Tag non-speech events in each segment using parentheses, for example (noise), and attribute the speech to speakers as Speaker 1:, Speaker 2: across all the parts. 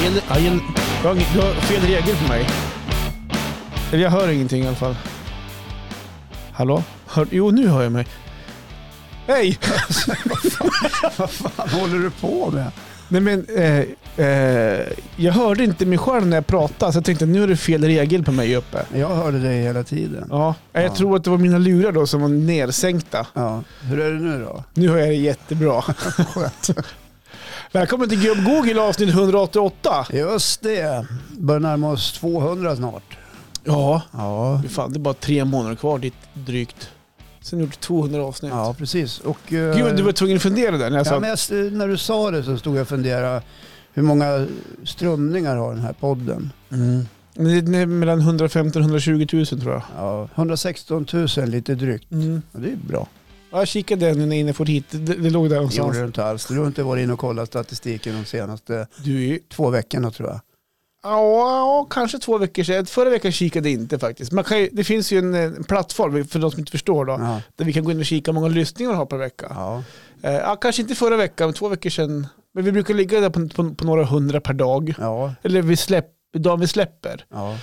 Speaker 1: ingen, jag har ingen, jag har ingen, du har fel regel för mig. Eller jag hör ingenting i alla fall. Hallå? Hör, jo, nu hör jag mig. Hej! (laughs)
Speaker 2: Vad håller du på med?
Speaker 1: Nej men, eh, eh, jag hörde inte mig själv när jag pratade så jag tänkte nu är det fel regel på mig uppe.
Speaker 2: Jag hörde dig hela tiden.
Speaker 1: Ja, jag
Speaker 2: Ja.
Speaker 1: tror att det var mina lurar då som var nersänkta.
Speaker 2: Ja. Hur är det nu då?
Speaker 1: Nu hör jag
Speaker 2: (laughs)
Speaker 1: det jättebra.
Speaker 2: Skönt.
Speaker 1: Välkommen till Gubb Google avsnitt 188.
Speaker 2: Just det. Börjar närma oss 200 snart.
Speaker 1: Ja,
Speaker 2: Ja.
Speaker 1: Fy Fan, det är bara tre månader kvar dit drygt. Sen har jag gjort 200 avsnitt.
Speaker 2: Ja, precis. Och, eh,
Speaker 1: Gud, du var tvungen att fundera där när jag sa...
Speaker 2: ja, men jag, st- när du sa det så stod jag och funderade. Hur många strömningar har den här podden?
Speaker 1: Mm. Men det är mellan 115 och 120 000 tror jag.
Speaker 2: Ja, 116 000 lite drygt.
Speaker 1: Mm.
Speaker 2: Ja, det är bra.
Speaker 1: Ja, jag kikade nu innan jag for hit. Det, det låg där
Speaker 2: Det gjorde
Speaker 1: någonstans.
Speaker 2: du inte alls. Du har inte varit inne och kollat statistiken de senaste
Speaker 1: Du är ju...
Speaker 2: två veckorna tror jag.
Speaker 1: Ja, kanske två veckor sedan. Förra veckan kikade jag inte faktiskt. Man kan ju, det finns ju en, eh, plattform, för de som inte förstår då,
Speaker 2: Ja.
Speaker 1: där vi kan gå in och kika hur många lyssningar man har per vecka.
Speaker 2: Ja.
Speaker 1: Ja. ja, kanske inte förra veckan, men två veckor sedan. Men vi brukar ligga där på, på, på några hundra per dag.
Speaker 2: Ja.
Speaker 1: Eller vi släpp, dagen vi släpper.
Speaker 2: ja.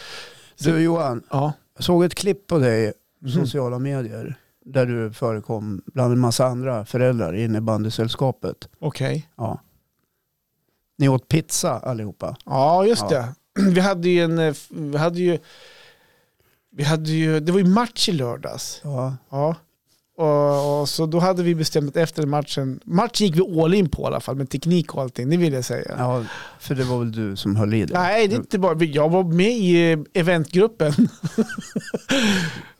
Speaker 2: Du Johan,
Speaker 1: Ja.
Speaker 2: Jag såg ett klipp på dig på
Speaker 1: Mhm.
Speaker 2: sociala medier där du förekom bland en massa andra föräldrar i innebandysällskapet.
Speaker 1: Okej.
Speaker 2: Ja. Ni åt pizza allihopa.
Speaker 1: Ja, just
Speaker 2: Ja.
Speaker 1: det. (clears throat) Vi hade ju en... eh, f- Vi hade ju, vi hade ju... Det var ju match i lördags.
Speaker 2: Ja.
Speaker 1: Ja. Och, och så då hade vi bestämt att efter matchen... Match gick vi all in på i alla fall, med teknik och allting, det vill jag säga.
Speaker 2: ja, för det var väl du som höll i det?
Speaker 1: Nej, det är inte bara... Jag var med i eh, eventgruppen. (laughs)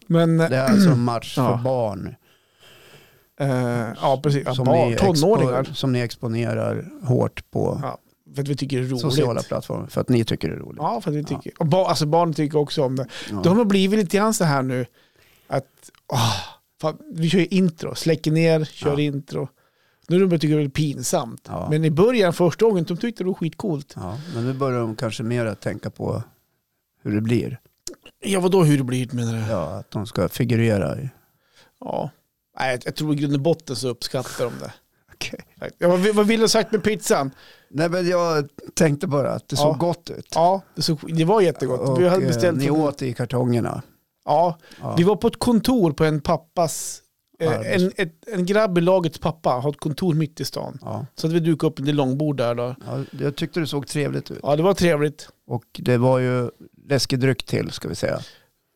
Speaker 1: Men...
Speaker 2: Det är alltså en match
Speaker 1: Ja.
Speaker 2: för barn.
Speaker 1: Eh, ja, precis. Ja,
Speaker 2: Som,
Speaker 1: barn,
Speaker 2: ni expo-
Speaker 1: tonåringar.
Speaker 2: som ni exponerar hårt på
Speaker 1: Ja, För att vi tycker det är roligt.
Speaker 2: sociala plattformar. För att ni tycker det är roligt.
Speaker 1: Ja, för att vi tycker... Och ba, alltså barn tycker också om det.
Speaker 2: Ja.
Speaker 1: Det har nog blivit lite grann så här nu att åh, fan, vi kör ju intro, släcker ner, kör
Speaker 2: Ja.
Speaker 1: intro. Nu har de börjat tycka det är pinsamt.
Speaker 2: Ja.
Speaker 1: Men i början, första gången, de tyckte det var skitcoolt.
Speaker 2: Ja, men nu börjar de kanske mer att tänka på hur det blir.
Speaker 1: Ja, vadå hur det blir menar du? Ja.
Speaker 2: Ja, att de ska figurera. i-
Speaker 1: Nej, jag, jag tror i grund och botten så uppskattar de det.
Speaker 2: Okej.
Speaker 1: Ja, vad, vill- vad vill du ha sagt med pizzan?
Speaker 2: Nej men jag tänkte bara att det
Speaker 1: Ja.
Speaker 2: såg gott ut.
Speaker 1: Ja, det, så, det var jättegott.
Speaker 2: Och,
Speaker 1: vi hade
Speaker 2: eh,
Speaker 1: beställt
Speaker 2: ni
Speaker 1: från-
Speaker 2: åt i kartongerna.
Speaker 1: Ja,
Speaker 2: Ja.
Speaker 1: vi var på ett kontor på en pappas, eh,
Speaker 2: Arbets-
Speaker 1: en, ett, en grabb i lagets pappa har ett kontor mitt i stan.
Speaker 2: Ja.
Speaker 1: Så att vi dukade upp en långbord där då.
Speaker 2: Ja, jag tyckte det såg trevligt ut.
Speaker 1: Ja, det var trevligt.
Speaker 2: Och det var ju läskedryck till ska vi säga.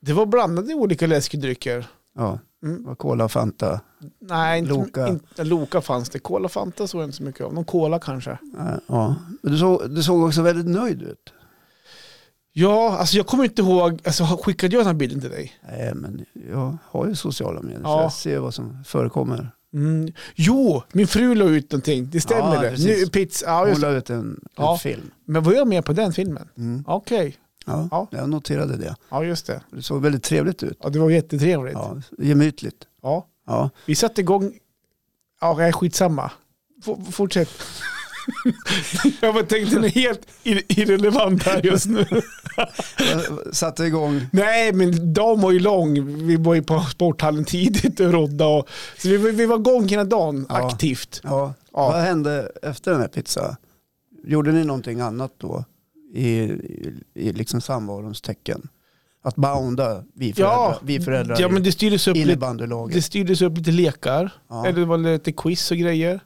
Speaker 1: Det var blandade olika läskedrycker.
Speaker 2: Ja, det
Speaker 1: Mm.
Speaker 2: var Cola och Fanta.
Speaker 1: Nej, inte, Loka.
Speaker 2: Loka.
Speaker 1: Inte, Loka fanns det. Cola Fanta såg jag inte så mycket av. Någon Cola kanske.
Speaker 2: Ja, Eh, Ja. Men du, såg, du såg också väldigt nöjd ut.
Speaker 1: Ja, alltså jag kommer inte ihåg. Alltså, skickade jag den här bilden till dig?
Speaker 2: Nej, men jag har ju sociala medier
Speaker 1: Ja.
Speaker 2: så jag ser vad som förekommer.
Speaker 1: Mm. Jo, min fru la ut någonting. Det stämmer
Speaker 2: Ja,
Speaker 1: det.
Speaker 2: precis.
Speaker 1: Nu, pizza. Ja,
Speaker 2: Hon
Speaker 1: just.
Speaker 2: la ut en, en
Speaker 1: Ja.
Speaker 2: film.
Speaker 1: Men var jag med på den filmen?
Speaker 2: Mm.
Speaker 1: Okej,
Speaker 2: Ja,
Speaker 1: Ja.
Speaker 2: Jag noterade det.
Speaker 1: ja just det.
Speaker 2: Det såg väldigt trevligt ut.
Speaker 1: Ja, det var jättetrevligt. Ja.
Speaker 2: Ja, gemytligt. Ja.
Speaker 1: Vi satte igång. Ja, nej, skitsamma. F- fortsätt. (laughs) jag bara tänkte den är helt ir- irrelevant här just nu.
Speaker 2: Jag satte igång
Speaker 1: Nej, men dagen var ju lång. Vi var ju på sporthallen tidigt och rodda. Och, så vi, vi var igång hela dagen
Speaker 2: Ja.
Speaker 1: aktivt.
Speaker 2: Ja.
Speaker 1: Ja.
Speaker 2: Vad hände efter den här pizzan? Gjorde ni någonting annat då? I, i, i liksom samvarons tecken? Att bounda vi föräldrar,
Speaker 1: Ja.
Speaker 2: vi föräldrar
Speaker 1: Ja, men det styrdes upp,
Speaker 2: i
Speaker 1: lite, det
Speaker 2: innebandylaget.
Speaker 1: styrdes upp lite lekar.
Speaker 2: Ja.
Speaker 1: Eller det var lite quiz och grejer.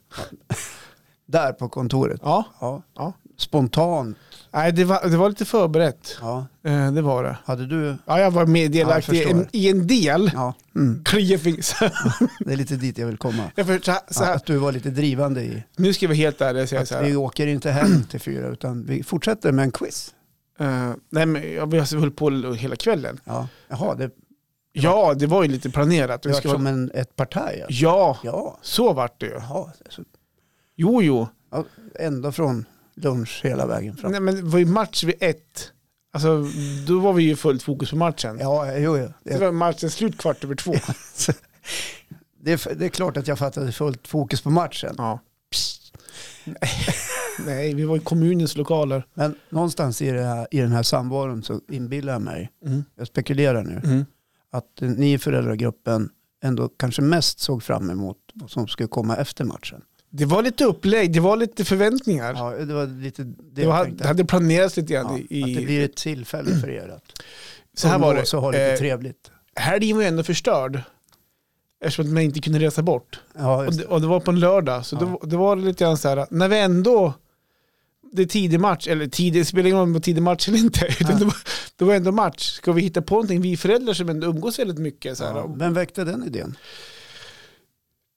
Speaker 2: Där på kontoret.
Speaker 1: Ja.
Speaker 2: Ja.
Speaker 1: Ja.
Speaker 2: Spontant.
Speaker 1: Nej, det var, det var lite förberett.
Speaker 2: Ja.
Speaker 1: Eh, det var det.
Speaker 2: Hade du?
Speaker 1: Ja, jag var med delaktig
Speaker 2: Ja, jag
Speaker 1: i, en,
Speaker 2: förstår.
Speaker 1: i en del.
Speaker 2: Ja. Mm.
Speaker 1: Klia fing- så här-
Speaker 2: Det är lite dit jag vill komma.
Speaker 1: (laughs) jag för- så här- så
Speaker 2: Ja,
Speaker 1: här.
Speaker 2: att du var lite drivande i.
Speaker 1: Nu ska jag vara helt ärlig och säga
Speaker 2: Att
Speaker 1: så här.
Speaker 2: vi åker inte hem till fyra utan vi fortsätter med en quiz.
Speaker 1: Eh, nej, men jag, vi har hållit på hela kvällen.
Speaker 2: Ja. Jaha, det
Speaker 1: Ja, det var ju lite planerat. Vi
Speaker 2: var
Speaker 1: ska
Speaker 2: som
Speaker 1: vara,
Speaker 2: en, ett partaj. alltså.
Speaker 1: ja,
Speaker 2: Ja.
Speaker 1: så vart det ju.
Speaker 2: Jaha. Så
Speaker 1: Jo, jo.
Speaker 2: Ja, ända från lunch hela vägen fram.
Speaker 1: Nej men det var ju match vid ett. Alltså då var vi ju fullt fokus på matchen.
Speaker 2: Ja, jo, jo.
Speaker 1: Det
Speaker 2: Det,
Speaker 1: var matchen slut kvart
Speaker 2: (laughs)
Speaker 1: över två.
Speaker 2: det, är, det är klart att jag fattade fullt fokus på matchen.
Speaker 1: Ja. (laughs) Nej, vi var i kommunens lokaler.
Speaker 2: Men någonstans i, det här, i den här samvaron så inbillar jag mig, jag spekulerar nu,
Speaker 1: Mm.
Speaker 2: att ni i föräldragruppen ändå kanske mest såg fram emot vad som skulle komma efter matchen.
Speaker 1: Det var lite upplägg, det var lite förväntningar.
Speaker 2: Ja, det var lite det,
Speaker 1: det
Speaker 2: jag
Speaker 1: var,
Speaker 2: tänkte.
Speaker 1: det hade planerats lite
Speaker 2: ja,
Speaker 1: grann i...
Speaker 2: Att det blir ett tillfälle för er att
Speaker 1: så här var
Speaker 2: umgås
Speaker 1: det.
Speaker 2: och ha lite
Speaker 1: Eh,
Speaker 2: trevligt.
Speaker 1: helgen var ju ändå förstörd. Eftersom att man inte kunde resa bort.
Speaker 2: Ja,
Speaker 1: Och
Speaker 2: just,
Speaker 1: det, och det var på en lördag. Så
Speaker 2: Ja.
Speaker 1: det, var- det var lite grann så här, när vi ändå, det är tidig match, eller tidig, det spelar ingen roll om det var tidig match eller inte. (laughs) Utan det, var, det var ändå match. Ska vi hitta på någonting? Vi föräldrar som ändå umgås väldigt mycket. Så här,
Speaker 2: ja.
Speaker 1: och-
Speaker 2: Vem väckte den idén?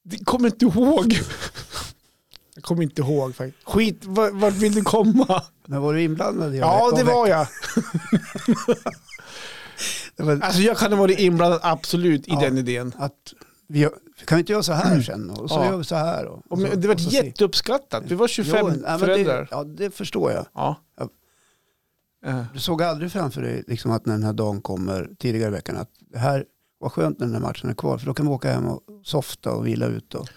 Speaker 1: Det kommer inte ihåg. (laughs) Jag kommer inte ihåg faktiskt. Skit, vart, vart vill du komma?
Speaker 2: Men var du inblandad i
Speaker 1: Ja,
Speaker 2: att
Speaker 1: det
Speaker 2: väcka-
Speaker 1: var jag.
Speaker 2: det var
Speaker 1: Alltså jag kan ha varit inblandad absolut i
Speaker 2: Ja.
Speaker 1: den idén.
Speaker 2: att vi, gör- kan vi inte göra så här sen? Och så
Speaker 1: Ja.
Speaker 2: gör vi så här. Och,
Speaker 1: Och
Speaker 2: så,
Speaker 1: men, det var
Speaker 2: och så se.
Speaker 1: jätteuppskattat. Vi var 25
Speaker 2: Jo, nej, men
Speaker 1: föräldrar.
Speaker 2: Det, ja, det förstår jag.
Speaker 1: Ja.
Speaker 2: Ja.
Speaker 1: Eh,
Speaker 2: Du såg aldrig framför dig liksom, att när den här dagen kommer tidigare i veckan att det här var skönt när den här matchen är kvar för då kan vi åka hem och softa och vila ut och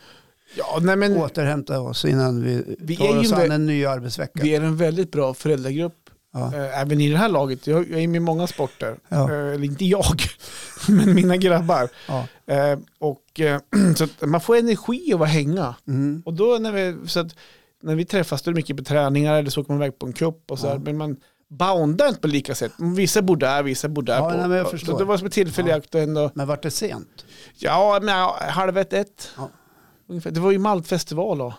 Speaker 1: Ja, nej men
Speaker 2: återhämta oss innan vi,
Speaker 1: Mm. Vi är
Speaker 2: tar
Speaker 1: ju
Speaker 2: oss
Speaker 1: en vä-
Speaker 2: an en ny arbetsvecka.
Speaker 1: vi är en väldigt bra föräldragrupp.
Speaker 2: ja.
Speaker 1: eh, Även i det här laget. Jag, jag är med i många sporter.
Speaker 2: Ja.
Speaker 1: Eh, Eller inte jag, (laughs) men mina grabbar.
Speaker 2: Ja.
Speaker 1: Eh, Och, eh, (clears throat) så att man får energi av att hänga.
Speaker 2: Mm.
Speaker 1: Och då när vi, så att, när vi träffas då är det mycket på träningar eller så åker man iväg på en cup och så här,
Speaker 2: Ja.
Speaker 1: Men man boundar inte på lika sätt. Vissa bor där, vissa bor där.
Speaker 2: Ja,
Speaker 1: på.
Speaker 2: nej, men jag
Speaker 1: Så
Speaker 2: förstår.
Speaker 1: Det var som en tillfällig
Speaker 2: Ja.
Speaker 1: akt och ändå.
Speaker 2: Men vart det sent?
Speaker 1: Ja, men ja, halv ett, ett.
Speaker 2: Ja.
Speaker 1: Ungefär. Det var ju Maltfestival då.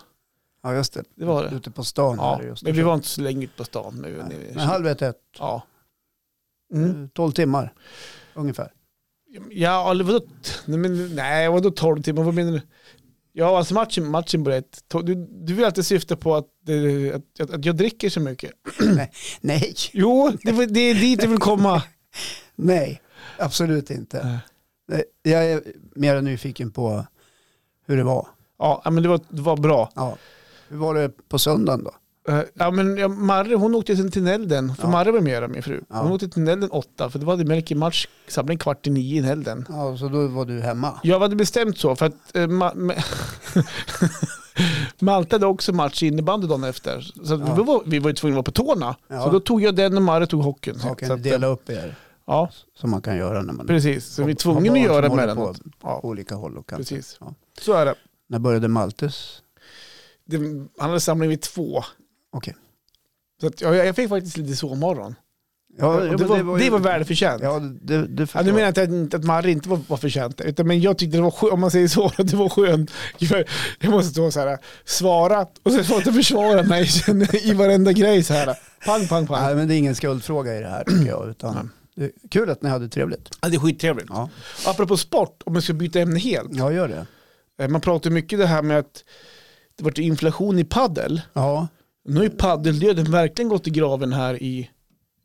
Speaker 2: Ja just det.
Speaker 1: Det var det.
Speaker 2: Ute på stan.
Speaker 1: Ja,
Speaker 2: här, just
Speaker 1: men vi var inte så länge ute på stan. Men vi var nere
Speaker 2: Nej.
Speaker 1: i-
Speaker 2: Men halv ett, ett
Speaker 1: ja. Mm.
Speaker 2: 12 timmar ungefär. (clears throat)
Speaker 1: Ja, eller vadå? t- Nej, men, nej, vadå 12 timmar? Vad menar du? Ja, alltså matchen, matchen började ett. To- Du, du vill alltid syfta på att, eh, att, att, att jag dricker så mycket.
Speaker 2: Nej,
Speaker 1: Jo, det, var- det är dit jag vill komma.
Speaker 2: nej, absolut inte. Nej, Jag är mer nyfiken på hur det var.
Speaker 1: Ja, men det var, det var bra.
Speaker 2: Ja. Hur var det på söndagen då?
Speaker 1: Eh, Ja, men ja, Marre hon åkte sen till Nelden, för
Speaker 2: Ja.
Speaker 1: Marre var med där, min fru. Hon
Speaker 2: Ja.
Speaker 1: åkte till Nelden åtta, för det var hade Melker match samling kvart i nio i Nelden.
Speaker 2: Ja, så då var du hemma.
Speaker 1: Jag hade bestämt så, för att eh, Ma- Ma- (laughs) Malte hade också match i innebandy dagen efter. Så att
Speaker 2: Ja.
Speaker 1: vi, var, vi var ju tvungna att vara på tårna.
Speaker 2: Ja.
Speaker 1: Så då tog jag den och Marre tog hockeyn.
Speaker 2: Man kan
Speaker 1: så
Speaker 2: ju
Speaker 1: att, eh,
Speaker 2: dela upp er
Speaker 1: ja,
Speaker 2: som man kan göra när man
Speaker 1: precis. Så vi
Speaker 2: har
Speaker 1: är tvungna
Speaker 2: barn
Speaker 1: att
Speaker 2: som
Speaker 1: göra
Speaker 2: håller
Speaker 1: mellan.
Speaker 2: på, på
Speaker 1: Ja,
Speaker 2: olika håll och kanter.
Speaker 1: Precis.
Speaker 2: Ja.
Speaker 1: så är det.
Speaker 2: När började Maltes?
Speaker 1: det. Han hade samling vid två.
Speaker 2: Okej.
Speaker 1: Så att, ja, jag fick faktiskt lite sovmorgon.
Speaker 2: Ja,
Speaker 1: Och
Speaker 2: jo,
Speaker 1: det,
Speaker 2: men
Speaker 1: var, det, var,
Speaker 2: ju-
Speaker 1: välförtjänt. Ja,
Speaker 2: Ja, det, det förstår
Speaker 1: nu
Speaker 2: jag.
Speaker 1: menar jag inte att, inte att Marre inte var, var förtjänt det, utan men jag tyckte det var skönt, om man säger så, att det var skönt. Jag, jag måste stå så här, svara och sen få försvara mig i varenda grej så här. Pang, pang, pang.
Speaker 2: Nej, men det är ingen skuldfråga i det här tycker jag. Utan det är kul att ni hade trevligt.
Speaker 1: Ja, det är skittrevligt.
Speaker 2: Ja,
Speaker 1: Apropå sport, om man ska byta ämne helt.
Speaker 2: ja gör det.
Speaker 1: Eh, Man pratar ju mycket det här med att det vart inflation i paddel.
Speaker 2: Ja,
Speaker 1: Nu har ju paddeldöden verkligen gått i graven här i,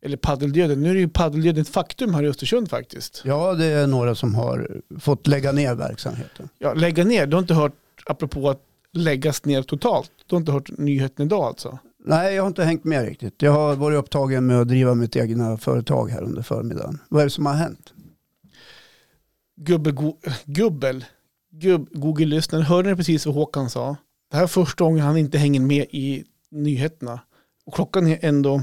Speaker 1: eller paddeldöden, nu är det ju paddeldöden ett faktum här i Östersund faktiskt.
Speaker 2: ja, det är några som har fått lägga ner verksamheten.
Speaker 1: Ja, lägga ner. Du har inte hört, apropå att läggas ner totalt, du har inte hört nyheten idag alltså?
Speaker 2: Nej, jag har inte hängt med riktigt. Jag har varit upptagen med att driva mitt egna företag här under förmiddagen. Vad är det som har hänt?
Speaker 1: Gubbel, go, gubbel, gubb, Google-lyssnaren, hörde ni precis vad Håkan sa? Det här är första gången han inte hänger med i nyheterna. Och klockan är ändå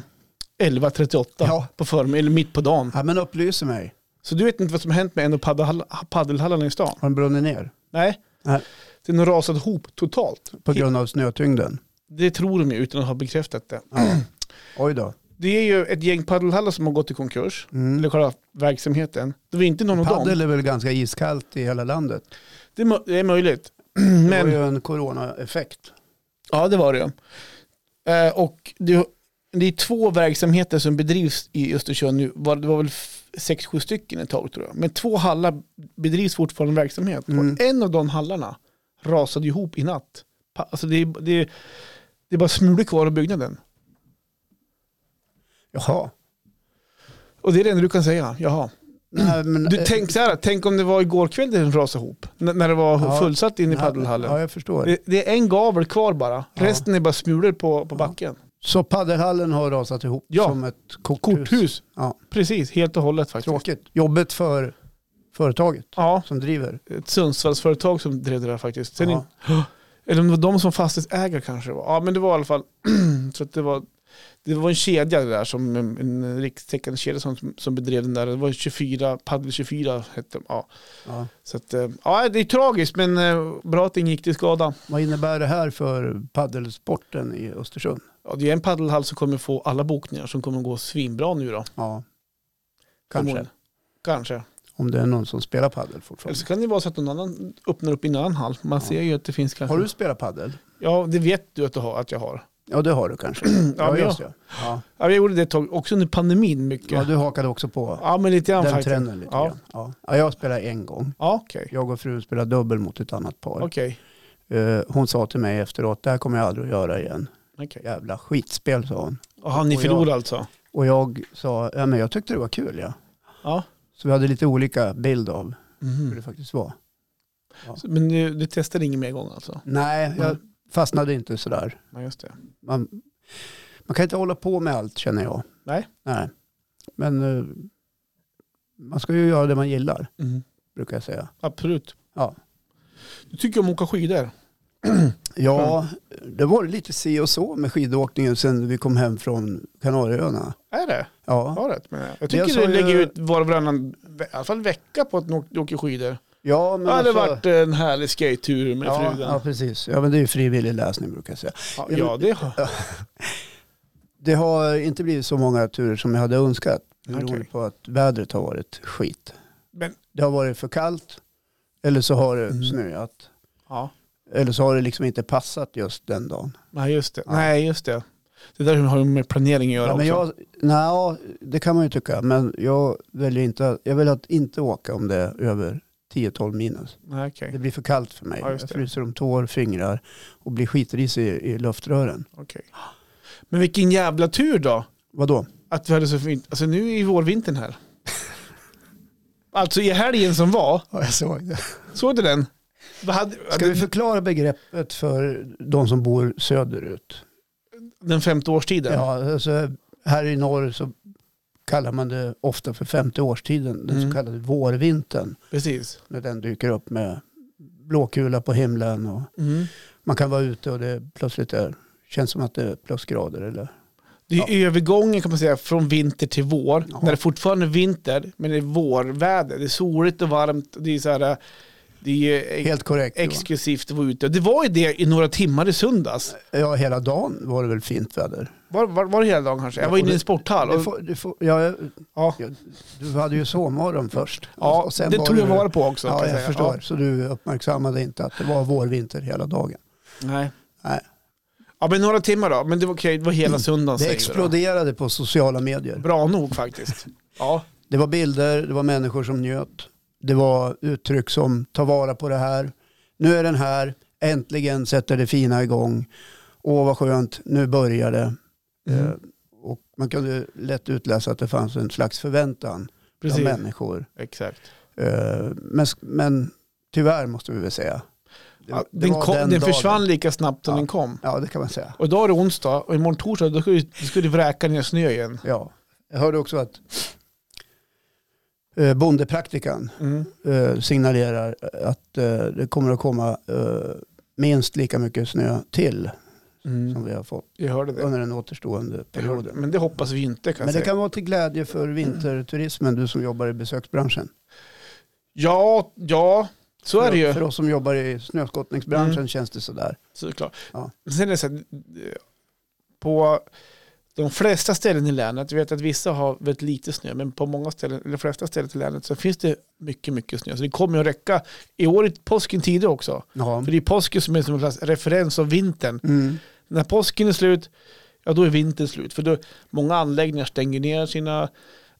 Speaker 1: 11.38
Speaker 2: Ja.
Speaker 1: på förmiddagen, eller mitt på dagen.
Speaker 2: Ja, men upplyser mig.
Speaker 1: Så du vet inte vad som har hänt med en av paddel, paddelhallarna i stan?
Speaker 2: Har den brunnit ner?
Speaker 1: Nej.
Speaker 2: Nej.
Speaker 1: Den har rasat ihop totalt.
Speaker 2: På grund av snötyngden?
Speaker 1: Det tror de ju utan att ha bekräftat det.
Speaker 2: Ja. Oj då.
Speaker 1: Det är ju ett gäng paddelhallar som har gått i konkurs.
Speaker 2: Mm.
Speaker 1: eller själva verksamheten. Det var inte någon av dem.
Speaker 2: Padel är väl ganska iskallt i hela landet.
Speaker 1: Det är, mö- det är möjligt. (clears throat)
Speaker 2: Det var
Speaker 1: Men,
Speaker 2: ju en coronaeffekt.
Speaker 1: ja, det var det. Eh, och det, det är två verksamheter som bedrivs i Östersund nu. Var, det var väl f- sex, sju stycken ett tag tror jag. Men två hallar bedrivs fortfarande verksamhet.
Speaker 2: Mm.
Speaker 1: Och en av de hallarna rasade ihop i natt. Pa, alltså det, är- det, är- det är bara smulor kvar av byggnaden.
Speaker 2: Jaha.
Speaker 1: Och det är det enda du kan säga. Jaha.
Speaker 2: Nej, men,
Speaker 1: Mm. Du,
Speaker 2: eh,
Speaker 1: tänk så här, tänk om det var igår kväll det rasade ihop. N- när det var
Speaker 2: Ja.
Speaker 1: fullsatt inne i
Speaker 2: nej,
Speaker 1: paddelhallen.
Speaker 2: eh, Ja, jag förstår.
Speaker 1: Det, det är en gavel kvar bara.
Speaker 2: Ja.
Speaker 1: Resten är bara smulor på, på backen.
Speaker 2: Så paddelhallen har rasat ihop
Speaker 1: Ja.
Speaker 2: som ett korthus.
Speaker 1: Korthus.
Speaker 2: Ja.
Speaker 1: Precis, helt och hållet faktiskt.
Speaker 2: Tråkigt. Jobbigt för företaget
Speaker 1: Ja,
Speaker 2: som driver.
Speaker 1: ett Sundsvallsföretag som drev det där faktiskt. Sen
Speaker 2: Ja.
Speaker 1: in, eller om det var de som fastighetsägare kanske det var. Ja, men det var i alla fall (clears throat) så att det var Det var en kedja det där, som en, en rikstäckande kedja som, som bedrev den där. Det var 24, Paddel 24 hette de. Ja.
Speaker 2: Ja.
Speaker 1: Så att, eh, ja, det är tragiskt men eh, bra att ingen gick till skada.
Speaker 2: Vad innebär det här för paddelsporten i Östersund?
Speaker 1: Ja, det är en paddelhall som kommer få alla bokningar som kommer gå svinbra nu då.
Speaker 2: Ja, kanske.
Speaker 1: Förmodligen. Kanske.
Speaker 2: Om det är någon som spelar paddel
Speaker 1: Eller
Speaker 2: fortfarande.
Speaker 1: så kan det vara så att någon annan öppnar upp i en annan hall. Man
Speaker 2: Ja.
Speaker 1: ser ju att det finns kanske.
Speaker 2: Har du spelat paddel?
Speaker 1: Ja, det vet du att, du har, att jag har.
Speaker 2: Ja, det har du
Speaker 1: (clears throat)
Speaker 2: kanske.
Speaker 1: men jag-
Speaker 2: just det. Ja.
Speaker 1: Ja, jag gjorde det ett tag, också under pandemin mycket.
Speaker 2: ja,
Speaker 1: Ja,
Speaker 2: du hakade också på
Speaker 1: men lite grann
Speaker 2: den
Speaker 1: faktiskt.
Speaker 2: trenden lite
Speaker 1: Ja.
Speaker 2: grann. Ja. Ja, jag spelade en gång.
Speaker 1: Ja, okej.
Speaker 2: Jag och frun spelade dubbel mot ett annat par.
Speaker 1: Okej.
Speaker 2: Eh, Hon sa till mig efteråt, det här kommer jag aldrig att göra igen.
Speaker 1: Okej.
Speaker 2: Jävla skitspel sa hon.
Speaker 1: Jaha, ni
Speaker 2: Och jag-
Speaker 1: förlorade alltså?
Speaker 2: Och jag sa, ja men jag tyckte det var kul ja.
Speaker 1: Ja.
Speaker 2: Så vi hade lite olika bild av hur det
Speaker 1: Mhm.
Speaker 2: faktiskt var.
Speaker 1: Så- Men du, du testade ingen mer gång alltså?
Speaker 2: Nej, jag fastnade inte sådär.
Speaker 1: Nej, just det.
Speaker 2: Man, man kan inte hålla på med allt känner jag.
Speaker 1: Nej.
Speaker 2: Nej. Men eh, man ska ju göra det man gillar,
Speaker 1: Mhm.
Speaker 2: brukar jag säga.
Speaker 1: Absolut.
Speaker 2: Ja.
Speaker 1: Du tycker om att åka skidor?
Speaker 2: Ja,
Speaker 1: Mm.
Speaker 2: det var lite si och så med skidåkningen sen vi kom hem från Kanarieöarna.
Speaker 1: Är det?
Speaker 2: Ja,
Speaker 1: Ja, rätt med det. Jag tycker
Speaker 2: sa
Speaker 1: du lägger
Speaker 2: ju-
Speaker 1: ut var och varannan, ve- i alla fall vecka på att ni åk- du åker skidor.
Speaker 2: ja men
Speaker 1: det hade
Speaker 2: alltså-
Speaker 1: varit en härlig skatetur med
Speaker 2: ja,
Speaker 1: frugan.
Speaker 2: ja, precis. Ja, men det är ju frivillig läsning brukar jag säga.
Speaker 1: Ja, ja, det har
Speaker 2: Det har inte blivit så många turer som jag hade önskat. Beroende
Speaker 1: Okej.
Speaker 2: på att vädret har varit skit.
Speaker 1: Men-
Speaker 2: Det har varit för kallt. Eller så har det
Speaker 1: Mm.
Speaker 2: snöat.
Speaker 1: ja.
Speaker 2: Eller så har det liksom inte passat just den dagen.
Speaker 1: Nej, just det.
Speaker 2: Ja.
Speaker 1: Nej, just det. Det där har ju med planering att göra
Speaker 2: Ja, men
Speaker 1: också.
Speaker 2: jag, nej, det kan man ju tycka. Men jag väljer inte, jag vill att inte åka om det är över 10-12 minus.
Speaker 1: Nej, okej.
Speaker 2: Det blir för kallt för mig.
Speaker 1: Ja, just
Speaker 2: jag
Speaker 1: det.
Speaker 2: fryser om tår, fingrar och blir skitrisig i, i luftrören.
Speaker 1: Okej. Men vilken jävla tur då.
Speaker 2: Vadå?
Speaker 1: Att vi hade så fint. Alltså nu är ju
Speaker 2: (laughs)
Speaker 1: vårvintern här. alltså i helgen som var.
Speaker 2: Ja, jag såg det.
Speaker 1: Såg du den? Vad hade,
Speaker 2: Ska vi förklara begreppet för de som bor söderut?
Speaker 1: Den femte årstiden?
Speaker 2: Ja, alltså, här i norr så kallar man det ofta för femte årstiden, den
Speaker 1: Mm.
Speaker 2: så kallade vårvintern.
Speaker 1: Precis.
Speaker 2: När den dyker upp med blåkula på himlen och
Speaker 1: Mm.
Speaker 2: man kan vara ute och det plötsligt är, känns som att det är plusgrader. Eller?
Speaker 1: Det är övergången kan man säga från vinter till vår.
Speaker 2: Ja.
Speaker 1: När det fortfarande är vinter men det är vårväder. Det är soligt och varmt. Och det är så här, det är ex-
Speaker 2: Helt korrekt. Johan.
Speaker 1: exklusivt att vara ute. Det var ju det i några timmar i söndags.
Speaker 2: Ja, hela dagen var det väl fint väder.
Speaker 1: Var, var, var det hela dagen kanske? Jag var inne i en sporthall.
Speaker 2: Du,
Speaker 1: Och,
Speaker 2: får, du, får, ja,
Speaker 1: ja,
Speaker 2: ja, du hade ju sovmorgon först.
Speaker 1: ja, det
Speaker 2: var
Speaker 1: tog jag
Speaker 2: du-
Speaker 1: vara på också. kan
Speaker 2: Ja, jag
Speaker 1: säga.
Speaker 2: förstår. Så du uppmärksammade inte att det var vårvinter hela dagen.
Speaker 1: Nej.
Speaker 2: Nej.
Speaker 1: Ja, men några timmar då. Men det var okej, det var hela söndagen.
Speaker 2: Mm. Det
Speaker 1: säger du då.
Speaker 2: exploderade på sociala medier.
Speaker 1: Bra nog faktiskt. Ja,
Speaker 2: Det var bilder, det var människor som njöt. Det var uttryck som ta vara på det här. Nu är den här, äntligen sätter det fina igång. Åh vad skönt, nu börjar det.
Speaker 1: Mm.
Speaker 2: Eh, och man kunde lätt utläsa att det fanns en slags förväntan
Speaker 1: precis.
Speaker 2: bland människor.
Speaker 1: Exakt.
Speaker 2: Eh, men, men tyvärr måste vi väl säga. Det-
Speaker 1: Ja,
Speaker 2: det
Speaker 1: den
Speaker 2: var
Speaker 1: kom, den,
Speaker 2: dagen.
Speaker 1: försvann lika snabbt som
Speaker 2: Ja.
Speaker 1: den kom.
Speaker 2: Ja, det kan man säga.
Speaker 1: Och idag är det onsdag och imorgon torsdag då ska du, då ska du vräka ner snö igen.
Speaker 2: Ja. Jag hörde också att eh, bondepraktikan
Speaker 1: Mm.
Speaker 2: eh, signalerar att eh, det kommer att komma eh, minst lika mycket snö till som
Speaker 1: Mm.
Speaker 2: vi har fått
Speaker 1: Jag hörde det.
Speaker 2: under den återstående
Speaker 1: Jag hörde.
Speaker 2: perioden.
Speaker 1: Men det hoppas vi inte kan
Speaker 2: Men det
Speaker 1: säga.
Speaker 2: kan vara till glädje för vinterturismen, du som jobbar i besöksbranschen.
Speaker 1: Ja, ja, så är det
Speaker 2: För-
Speaker 1: ju.
Speaker 2: För oss som jobbar i snöskottningsbranschen
Speaker 1: Mm.
Speaker 2: känns det sådär.
Speaker 1: Såklart.
Speaker 2: Ja.
Speaker 1: Sen är det så här, eh, på de flesta ställen i länet, vi vet att vissa har väldigt lite snö, men på många ställen, eller de flesta ställen i länet så finns det mycket, mycket snö. Så det kommer ju att räcka. I år är påsken tidigare också.
Speaker 2: Ja.
Speaker 1: För det är påsken som är som en slags referens av vintern.
Speaker 2: Mm.
Speaker 1: När påsken är slut, ja då är vintern slut. För då, många anläggningar stänger ner sina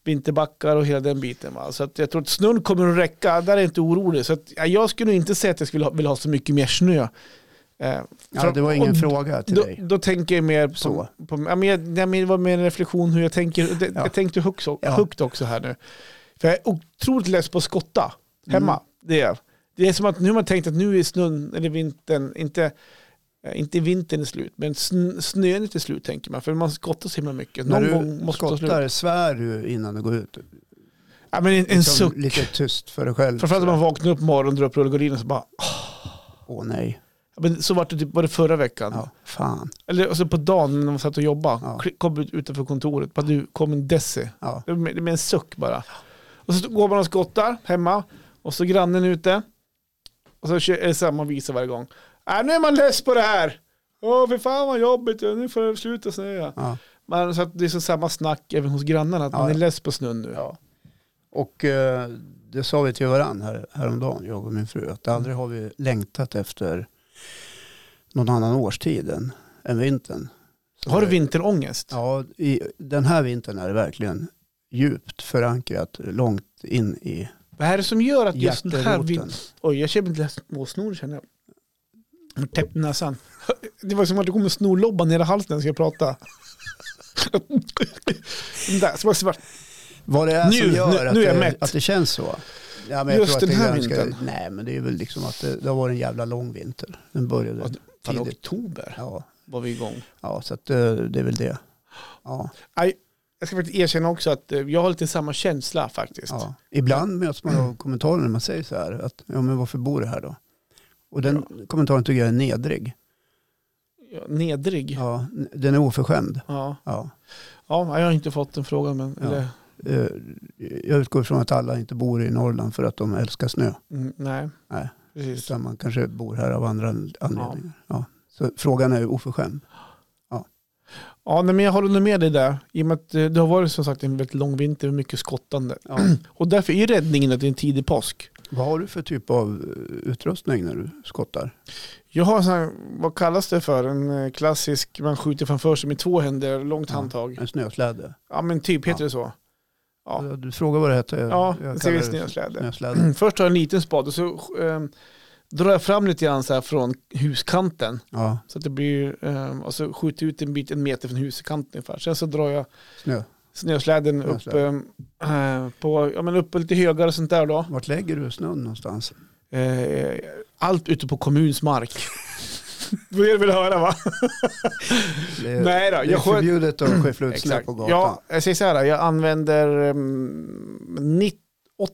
Speaker 1: vinterbackar och hela den biten. Va? Så att jag tror att snön kommer att räcka, där är jag inte orolig. Så att, ja, jag skulle inte säga att jag skulle ha, vill ha så mycket mer snö. Eh,
Speaker 2: Ja,
Speaker 1: för-
Speaker 2: det var ingen
Speaker 1: och
Speaker 2: fråga till
Speaker 1: då,
Speaker 2: dig.
Speaker 1: då tänker jag mer på,
Speaker 2: Så.
Speaker 1: på ja, men jag, nej, men det var mer en reflektion hur jag tänker. Det,
Speaker 2: Ja.
Speaker 1: Jag tänkte högt,
Speaker 2: Ja.
Speaker 1: högt också här nu. För jag är otroligt less på att skotta hemma.
Speaker 2: Mm.
Speaker 1: Det, är, jag. det är som att nu har man tänkt att nu är snön, eller vintern, inte, eh, inte vintern är slut, men sn, snön är till slut tänker man. För man skottar så himla mycket.
Speaker 2: När
Speaker 1: Någon gång
Speaker 2: du
Speaker 1: måste det ta slut.
Speaker 2: skottar, svär du innan du går ut?
Speaker 1: Ja, men en, en
Speaker 2: Liksom
Speaker 1: suck.
Speaker 2: Lite tyst för dig själv.
Speaker 1: Framförallt när man vaknar upp på morgonen, drar upp rullgardinen och så bara,
Speaker 2: Åh nej.
Speaker 1: Men så var det, typ, var det förra veckan.
Speaker 2: Ja, fan.
Speaker 1: Eller alltså på dagen när man satt och jobbade.
Speaker 2: Ja.
Speaker 1: Klick- Kom ut utanför kontoret. Bara, du, kom en desse.
Speaker 2: Ja.
Speaker 1: Det med, med en suck bara. Och så går man och skottar hemma. Och så grannen ute. Och så kör, är det samma visa varje gång. Äh, nu är man less på det här. Åh, fy fan vad jobbigt. Nu får det sluta snöa.
Speaker 2: Ja.
Speaker 1: Man, så att det är så samma snack även hos grannarna. Att
Speaker 2: Ja,
Speaker 1: man är
Speaker 2: ja.
Speaker 1: less på snön nu.
Speaker 2: Ja. Och eh, det sa vi till varandra här, häromdagen, jag och min fru, att aldrig har vi längtat efter någon annan årstid än, än vintern. Så
Speaker 1: Har du
Speaker 2: det-
Speaker 1: vinterångest?
Speaker 2: Ja, i, den här vintern är det verkligen djupt förankrat, långt in i
Speaker 1: Vad är det som gör att just den här
Speaker 2: hjärteroten.
Speaker 1: vintern... Oj, jag känner lite småsnor känner jag. jag. har Täppt näsan. (laughs) Det var som att det kom en snorlobba ner i halsen när jag pratade. (laughs) Den där, så var det svart.
Speaker 2: Vad det är
Speaker 1: Nu,
Speaker 2: som gör
Speaker 1: nu-
Speaker 2: att,
Speaker 1: nu är jag
Speaker 2: det,
Speaker 1: mätt.
Speaker 2: att det känns så. Ja,
Speaker 1: Just
Speaker 2: att
Speaker 1: den
Speaker 2: det är
Speaker 1: här vintern.
Speaker 2: Nej, men det är väl liksom att det, det har varit en jävla lång vinter. Den började
Speaker 1: Ja, det- Fan,
Speaker 2: tidigt.
Speaker 1: oktober
Speaker 2: Ja,
Speaker 1: var vi igång.
Speaker 2: ja, så att, eh, det är väl det. Ja,
Speaker 1: Aj, jag ska faktiskt erkänna också att eh, jag har lite samma känsla faktiskt.
Speaker 2: ja. Ibland möts man av kommentarer när man säger så här, att ja, men varför bor du här då? Och den kommentaren tycker jag är nedrig.
Speaker 1: Ja, Nedrig. Ja.
Speaker 2: Ja, den är oförskämd.
Speaker 1: Ja.
Speaker 2: Ja.
Speaker 1: jag har inte fått den frågan. Men,
Speaker 2: Ja.
Speaker 1: eller,
Speaker 2: Eh, Jag utgår från att alla inte bor i Norrland för att de älskar snö.
Speaker 1: mm, nej.
Speaker 2: Nej.
Speaker 1: Precis.
Speaker 2: Utan man kanske bor här av andra anledningar. Ja. Så frågan är ju oförskämd.
Speaker 1: Ja, nej, men jag håller nog med dig där. I och med att eh, det har varit som sagt en väldigt lång vinter med mycket skottande.
Speaker 2: Ja.
Speaker 1: Och därför är räddningen att det är en tidig påsk.
Speaker 2: (clears throat) Vad har du för typ av eh, utrustning när du skottar?
Speaker 1: Jag har en sån här, vad kallas det för, en eh, klassisk, man skjuter framför sig med två händer, långt
Speaker 2: Ja.
Speaker 1: handtag.
Speaker 2: En snösläde?
Speaker 1: Ja men typ, heter
Speaker 2: Ja.
Speaker 1: det så? Ja.
Speaker 2: Du frågar vad det heter. jag-
Speaker 1: Ja,
Speaker 2: jag kallar
Speaker 1: det ser
Speaker 2: det
Speaker 1: vi snösläde. Mm.
Speaker 2: snösläde.
Speaker 1: (clears throat) Först har jag en liten spade och så eh, drar jag fram lite grann så här från huskanten.
Speaker 2: Ja,
Speaker 1: Så att det blir, eh, och så skjuter jag ut en bit, en meter från huskanten ungefär. Sen så drar jag
Speaker 2: snö.
Speaker 1: snösläden upp,
Speaker 2: Snösläden.
Speaker 1: eh, på, ja, men upp lite högare och sånt där då.
Speaker 2: Vart lägger du snön någonstans?
Speaker 1: Eh, allt ute på kommuns mark. (laughs) Då är det väl höra va?
Speaker 2: Det är,
Speaker 1: Nej då,
Speaker 2: Eh, det är
Speaker 1: jag sköt-
Speaker 2: förbjudet att
Speaker 1: (clears throat)
Speaker 2: skyffla ut snö
Speaker 1: Exakt.
Speaker 2: på gatan.
Speaker 1: Ja, jag säger så här, jag använder um,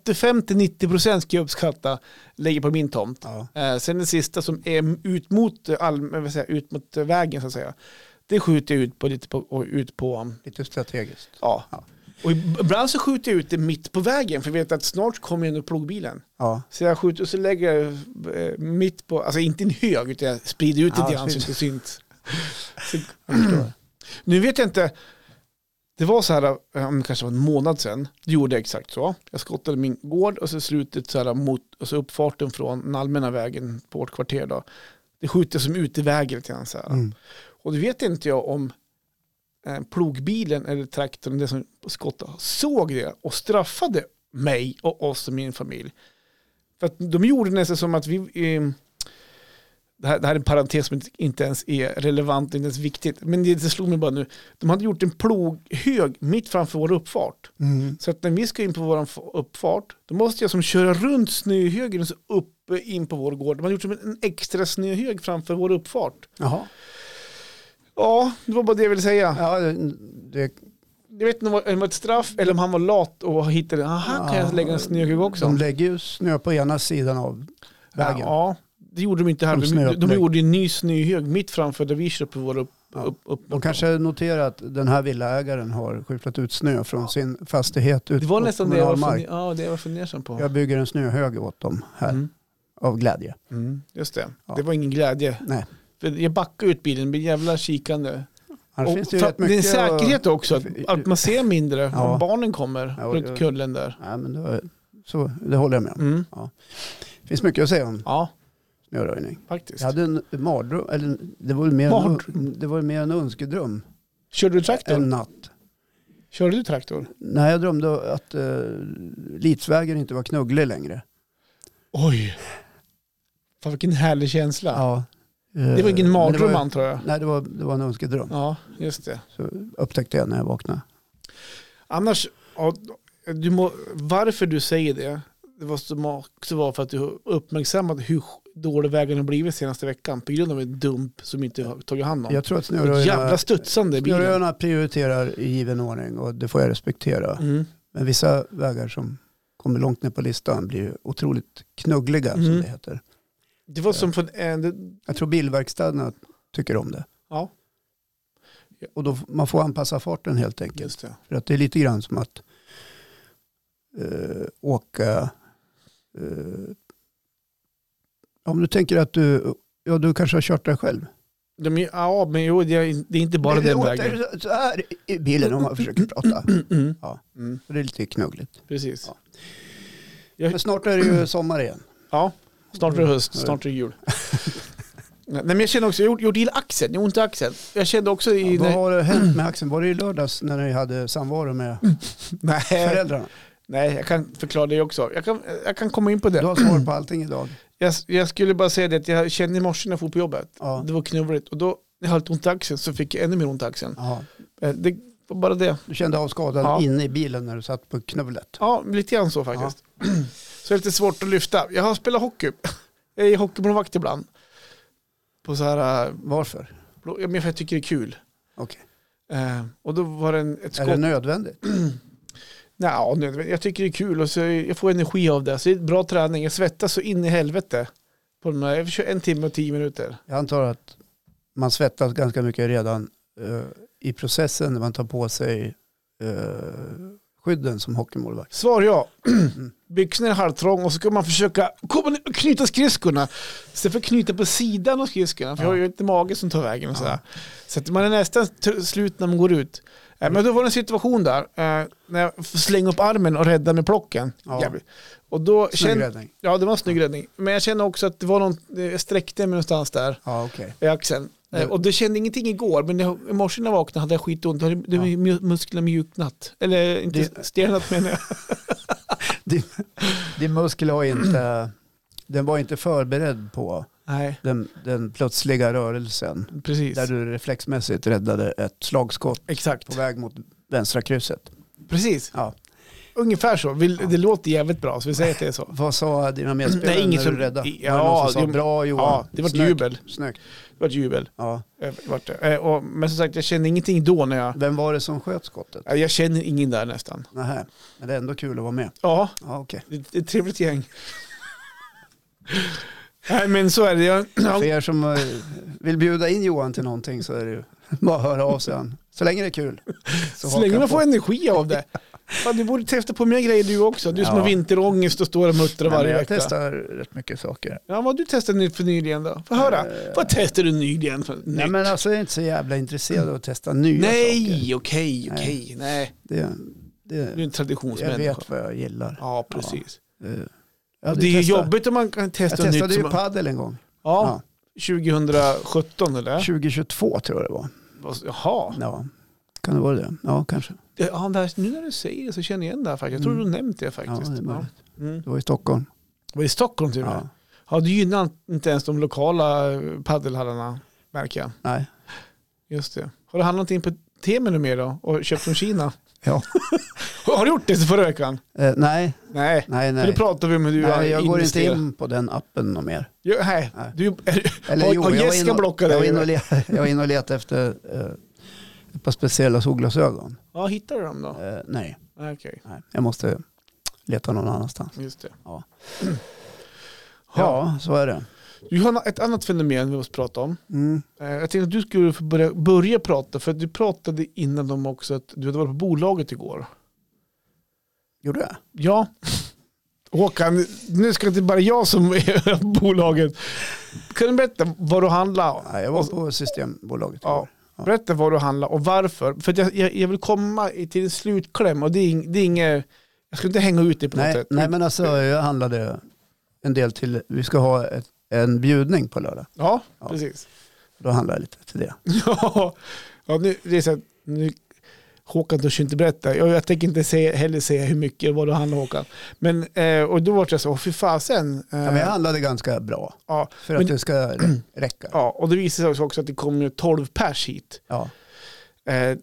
Speaker 1: 85-90% ska jag uppskatta lägger på min tomt.
Speaker 2: Ja.
Speaker 1: Eh, sen den sista som är ut mot, all, vad säger, jag, ut mot vägen så att säga. Det skjuter jag ut på, lite på, och ut på um,
Speaker 2: Lite strategiskt.
Speaker 1: ja.
Speaker 2: Ja.
Speaker 1: Och ibland så skjuter jag ut det mitt på vägen för jag vet att snart kommer ändå plogbilen.
Speaker 2: Ja.
Speaker 1: Så jag skjuter och så lägger jag eh, mitt på, alltså inte en hög utan jag sprider ut
Speaker 2: Ja,
Speaker 1: lite grann så
Speaker 2: precis.
Speaker 1: det
Speaker 2: (laughs)
Speaker 1: inte syns. Så-
Speaker 2: jag förstår.
Speaker 1: Nu vet jag inte, det var så här, eh, om det kanske var en månad sedan, det gjorde jag exakt så. Jag skottade min gård och så slutet så här mot, alltså uppfarten från den allmänna vägen på vårt kvarter då. Det skjuter som uteväg lite grann så här.
Speaker 2: Mm.
Speaker 1: Och det vet inte jag om eh, plogbilen eller traktorn, det som skottade, såg det och straffade mig och oss och min familj. För att de gjorde nästan som att vi... Eh, det, här, det här är en parentes som inte- inte ens är relevant, inte ens viktigt. Men det, det slog mig bara nu. De hade gjort en ploghög mitt framför vår uppfart.
Speaker 2: Mm.
Speaker 1: Så att när vi ska in på vår f- uppfart, då måste jag som köra runt snöhögen och så upp eh, in på vår gård. De hade gjort som en- en extra snöhög framför vår uppfart.
Speaker 2: Jaha.
Speaker 1: Ja, det var bara det jag ville säga.
Speaker 2: Ja, det, det,
Speaker 1: Jag vet inte om det var ett straff eller om han var lat och hittade, aha, kan jag lägga en snöhög också?
Speaker 2: de lägger ju snö på ena sidan av vägen.
Speaker 1: Ja, det gjorde de inte här.
Speaker 2: Som
Speaker 1: De,
Speaker 2: snöupplägg.
Speaker 1: de gjorde en ny snöhög mitt framför där vi köper vår upp,
Speaker 2: Ja.
Speaker 1: upp, upp,
Speaker 2: De kanske noterar att den här villaägaren har skyfflat ut snö från sin fastighet ut
Speaker 1: Det var
Speaker 2: på
Speaker 1: nästan det jag var,
Speaker 2: kommunal
Speaker 1: funder,
Speaker 2: mark.
Speaker 1: ja, det jag var fundersam på.
Speaker 2: Jag bygger en snöhög åt dem här
Speaker 1: Mm.
Speaker 2: av glädje.
Speaker 1: Mm. Just det,
Speaker 2: Ja.
Speaker 1: det var ingen glädje.
Speaker 2: Nej.
Speaker 1: För jag backade ut bilen, det blir jävla kikande.
Speaker 2: Annars
Speaker 1: Och
Speaker 2: finns det ju
Speaker 1: för-
Speaker 2: rätt
Speaker 1: det är en
Speaker 2: mycket att-
Speaker 1: säkerhet också, att, att man ser mindre
Speaker 2: Ja.
Speaker 1: om barnen kommer
Speaker 2: Ja, och-
Speaker 1: runt kullen där.
Speaker 2: Nej, men det, var, så, det håller jag med om.
Speaker 1: Mm.
Speaker 2: Det finns mycket att säga om
Speaker 1: Ja,
Speaker 2: snöröjning.
Speaker 1: faktiskt.
Speaker 2: Jag hade en mardröm, eller det var ju mer, en,
Speaker 1: Mardröm?
Speaker 2: det var ju mer en önskedröm
Speaker 1: Körde du traktor?
Speaker 2: en natt.
Speaker 1: Körde du traktor?
Speaker 2: När jag drömde att eh, Lidsvägen inte var knugglig längre.
Speaker 1: Oj. Fan vilken härlig känsla.
Speaker 2: Ja.
Speaker 1: Det var ingen mardröm antar jag.
Speaker 2: Nej, Eh, det var, det var en önskedröm.
Speaker 1: Ja, just det.
Speaker 2: Så upptäckte jag när jag vaknade.
Speaker 1: Annars, ja, du må, varför du säger det, det måste också vara för att du har uppmärksammat hur dålig vägen har blivit senaste veckan på grund av en dump som inte har tagit hand om.
Speaker 2: Jag tror att
Speaker 1: Och
Speaker 2: snöröjarna,
Speaker 1: Jävla studsande i bilen.
Speaker 2: snöröjarna prioriterar i given ordning och det får jag respektera.
Speaker 1: Mm.
Speaker 2: Men vissa vägar som kommer långt ner på listan blir ju otroligt knuggliga
Speaker 1: Mm.
Speaker 2: som det heter.
Speaker 1: Det var som för en... det-
Speaker 2: Jag tror bilverkstäderna tycker om det.
Speaker 1: Ja,
Speaker 2: Och då f- man får anpassa farten helt enkelt.
Speaker 1: just det.
Speaker 2: För att det är lite grann som att eh, åka... eh, om du tänker att du... Ja, du kanske har kört där själv.
Speaker 1: De, är- ja, men jo, det är det är inte
Speaker 2: (laughs)
Speaker 1: bara
Speaker 2: det
Speaker 1: den
Speaker 2: låter
Speaker 1: vägen.
Speaker 2: så här i bilen om man försöker prata.
Speaker 1: (clears throat) Mm.
Speaker 2: Ja.
Speaker 1: Mm,
Speaker 2: Det är lite knuggligt.
Speaker 1: precis.
Speaker 2: Ja.
Speaker 1: Jag-
Speaker 2: Men snart är det ju sommar igen.
Speaker 1: Ja, snart är det höst, snart är
Speaker 2: (laughs)
Speaker 1: det jul. Nej men jag känner också, jag gjorde, gjorde illa axeln, jag har ont i axeln. Jag kände också i...
Speaker 2: Ja, vad
Speaker 1: när,
Speaker 2: har det hänt med axeln? Var det i lördags när ni hade samvaro med
Speaker 1: Mm. nej,
Speaker 2: föräldrarna?
Speaker 1: nej, jag kan förklara det också. Jag kan, jag kan komma in på
Speaker 2: Du
Speaker 1: det.
Speaker 2: har svar på allting idag.
Speaker 1: Jag, jag skulle bara säga det att jag kände i morse när jag for på jobbet,
Speaker 2: Ja.
Speaker 1: det var knurrigt. Och då, när jag hade lite ont i axeln så fick jag ännu mer ont i axeln.
Speaker 2: Ja.
Speaker 1: Eh, Det var bara det.
Speaker 2: Du kände av skadan
Speaker 1: Ja.
Speaker 2: inne i bilen när du satt på knullet.
Speaker 1: Ja, lite grann så faktiskt. (clears throat) Så det är lite svårt att lyfta. Jag har spelat hockey. (laughs) Jag är hockeymålvakt ibland. På så här, eh,
Speaker 2: Varför?
Speaker 1: blå- ja, men för jag tycker det är kul.
Speaker 2: Okej.
Speaker 1: Eh, och då var det en, ett skott.
Speaker 2: Är det nödvändigt?
Speaker 1: Nej, ja, nödvändigt. jag tycker det är kul och så jag får energi av det. Så det är bra träning. Jag svettas så in i helvete. På de här, jag kör en timme och tio minuter.
Speaker 2: Jag antar att man svettas ganska mycket redan eh, i processen när man tar på sig eh, skydden som hockeymålvakt.
Speaker 1: Svar ja. (clears throat) Byxorna är halvtrång och så ska man försöka komma ner och knyta skridskorna. Istället för att knyta på sidan av skridskorna. För jag har ju inte mage som tar vägen. Och sådär. Så att man är nästan t- slut när man går ut. Eh,
Speaker 2: Mm.
Speaker 1: Men då var det en situation där. eh, När jag f- slänger upp armen och räddar med plocken.
Speaker 2: Ja.
Speaker 1: Jävligt. Och då
Speaker 2: Snygg
Speaker 1: kände,
Speaker 2: räddning.
Speaker 1: ja, det var en snygg räddning. Men jag kände också att det var någon, jag sträckte mig någonstans där.
Speaker 2: Ja, okej.
Speaker 1: i axeln. Eh,
Speaker 2: Mm.
Speaker 1: Och det kände ingenting igår, men det, i morse när jag vaknade hade jag skitont. Då hade då
Speaker 2: Ja.
Speaker 1: hade mu- musklerna mjuknat. Eller inte
Speaker 2: Det-
Speaker 1: stelnat menar jag.
Speaker 2: Din muskel har inte, den var inte förberedd på
Speaker 1: Nej,
Speaker 2: den, den plötsliga rörelsen
Speaker 1: precis.
Speaker 2: där du reflexmässigt räddade ett slagskott på
Speaker 1: Exakt.
Speaker 2: väg mot vänstra krysset.
Speaker 1: Precis.
Speaker 2: Ja.
Speaker 1: Ungefär så. Vill, Det låter jävligt bra, så vi säger att det är så.
Speaker 2: Vad sa dina medspelare
Speaker 1: Nej, inget
Speaker 2: när du
Speaker 1: som-
Speaker 2: räddade?
Speaker 1: Ja,
Speaker 2: var det någon som sa
Speaker 1: det-
Speaker 2: bra Johan?
Speaker 1: ja, det var ett
Speaker 2: Snyggt,
Speaker 1: jubel.
Speaker 2: Snyggt.
Speaker 1: Det var ett jubel.
Speaker 2: Ja.
Speaker 1: Eh, vart det. Eh, och, men som sagt, jag kände ingenting då när jag...
Speaker 2: Vem var det som sköt skottet?
Speaker 1: Eh, Jag känner ingen där nästan.
Speaker 2: Nähä. Men det är ändå kul att vara med.
Speaker 1: Ja,
Speaker 2: Ja,
Speaker 1: (clears throat)
Speaker 2: okej.
Speaker 1: det, det är ett
Speaker 2: (laughs)
Speaker 1: trevligt gäng. Nej, men så är det. Jag,
Speaker 2: För er som eh, vill bjuda in Johan till någonting så är det ju (laughs) bara att höra av sig. han. Så länge det är kul. Så
Speaker 1: Så länge
Speaker 2: haka
Speaker 1: man
Speaker 2: på.
Speaker 1: får energi
Speaker 2: (laughs)
Speaker 1: av det. Fan, du borde testa på mer grejer du också. Du som
Speaker 2: Ja.
Speaker 1: har vinterångest och står och muttrar
Speaker 2: Nej, men
Speaker 1: varje
Speaker 2: Jag
Speaker 1: vecka.
Speaker 2: testar rätt mycket saker.
Speaker 1: Ja, vad du testade nytt för nyligen då? Få höra.
Speaker 2: Eh,
Speaker 1: Vad testar du nyligen för nytt?
Speaker 2: Nej men alltså jag är inte så jävla intresserad av att testa nya saker.
Speaker 1: Nej, okej, okej. Nej,
Speaker 2: Det,
Speaker 1: du är
Speaker 2: det,
Speaker 1: en
Speaker 2: jag
Speaker 1: traditionsmänniska.
Speaker 2: vet vad jag gillar.
Speaker 1: Ja, precis.
Speaker 2: Eh, jag
Speaker 1: Och
Speaker 2: hade
Speaker 1: det är ju
Speaker 2: testat-
Speaker 1: jobbigt om man kan
Speaker 2: Jag
Speaker 1: testa nytt.
Speaker 2: testade ju
Speaker 1: som-
Speaker 2: padel en gång.
Speaker 1: Ja, 2017 eller?
Speaker 2: 2022 tror jag det var.
Speaker 1: Jaha.
Speaker 2: Ja, kan det vara det? Ja, kanske.
Speaker 1: Ja, det här, nu när du säger det så känner jag igen det här faktiskt. Jag tror du nämnt det
Speaker 2: Mm. Ja,
Speaker 1: faktiskt.
Speaker 2: det, är möjligt.
Speaker 1: Ja. Mm.
Speaker 2: det var i Stockholm.
Speaker 1: Det var i Stockholm till och med.
Speaker 2: Ja.
Speaker 1: Ja, du gynnar inte ens de lokala eh, paddelhallarna märker jag.
Speaker 2: Nej.
Speaker 1: Just det. Har du handlat in på Temu nu mer då och köpt från Kina?
Speaker 2: (laughs) Ja.
Speaker 1: (laughs) Har du gjort det förra veckan?
Speaker 2: Eh, nej,
Speaker 1: Nej.
Speaker 2: nej,
Speaker 1: För
Speaker 2: nej.
Speaker 1: det pratar vi om hur du har
Speaker 2: nej jag går inte
Speaker 1: investerat.
Speaker 2: in på den appen något mer.
Speaker 1: Jo, nej.
Speaker 2: Nej.
Speaker 1: Du, (laughs) är, du-
Speaker 2: Eller
Speaker 1: har,
Speaker 2: jo,
Speaker 1: har
Speaker 2: jag var
Speaker 1: Jessica
Speaker 2: in och-
Speaker 1: blockat
Speaker 2: Jag var
Speaker 1: dig?
Speaker 2: inne och le- jag var inne och letade efter eh, ett par speciella solglasögon.
Speaker 1: ja, hittar du dem då?
Speaker 2: Eh, nej,
Speaker 1: Ja. Okej,
Speaker 2: nej, jag måste leta någon annanstans.
Speaker 1: just det.
Speaker 2: Ja.
Speaker 1: (clears throat) Ja.
Speaker 2: Ja, så är det.
Speaker 1: Du har ett annat fenomen vi måste prata om.
Speaker 2: Mm.
Speaker 1: Eh, Jag tänkte att du skulle få börja, börja prata, för att du pratade innan om också att du hade varit på bolaget igår.
Speaker 2: Gjorde jag?
Speaker 1: Ja. (laughs) Håkan, nu ska inte bara jag som är (laughs) bolaget. Kan du berätta vad du handlar?
Speaker 2: Nej, jag var på Systembolaget.
Speaker 1: Ja.
Speaker 2: igår.
Speaker 1: Berätta vad du handlar och varför. För att jag, jag, jag vill komma i- till en slutkläm och det är, ing- det är inget... Jag ska inte hänga ut det på något
Speaker 2: Nej,
Speaker 1: sätt. Mm.
Speaker 2: nej, men alltså jag handlade en del till, vi ska ha ett, en bjudning på lördag.
Speaker 1: Ja,
Speaker 2: Ja.
Speaker 1: precis.
Speaker 2: Då handlar jag lite till det.
Speaker 1: Ja, ja nu, det är så att, nu, Håkan törs ju inte berätta. Jag, jag tänker inte säga, heller säga hur mycket och vad du handlar Håkan. Men, eh, och då var jag så, åh, fy fasen. Eh,
Speaker 2: Ja, men jag handlade ganska bra
Speaker 1: ja,
Speaker 2: för att
Speaker 1: Men-
Speaker 2: det ska rä- räcka.
Speaker 1: ja, och det visade sig också att det kom ju 12 pers hit.
Speaker 2: Ja,
Speaker 1: Eh,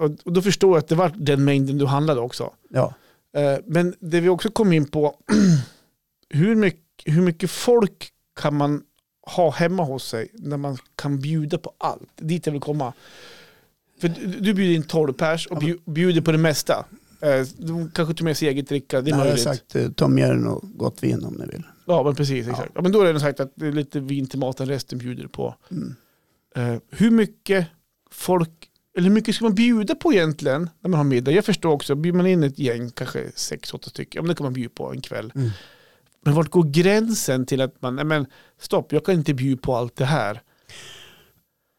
Speaker 1: och, och då förstår jag att det var den mängden du handlade också.
Speaker 2: ja.
Speaker 1: Eh, men det vi också kom in på, (clears throat) hur mycket, hur mycket folk kan man ha hemma hos sig när man kan bjuda på allt? Dit jag vill komma. För du, du bjuder in 12 pers och bju- bjuder på det mesta. Eh, De kanske tar med sig eget dricka, det är
Speaker 2: Nej, jag har
Speaker 1: möjligt.
Speaker 2: sagt eh, ta med er något gott vin om ni vill.
Speaker 1: Ja, men precis.
Speaker 2: Ja.
Speaker 1: Exakt. Ja. men då är det sagt att det är lite vin till maten, resten bjuder på.
Speaker 2: Mm.
Speaker 1: Eh, hur mycket folk, eller hur mycket ska man bjuda på egentligen när man har middag? Jag förstår också, bjuder man in ett gäng, kanske sex, åtta stycken, ja men det kan man bjuda på en kväll.
Speaker 2: Mm.
Speaker 1: Men vart går gränsen till att man, nej men stopp, jag kan inte bjuda på allt det här.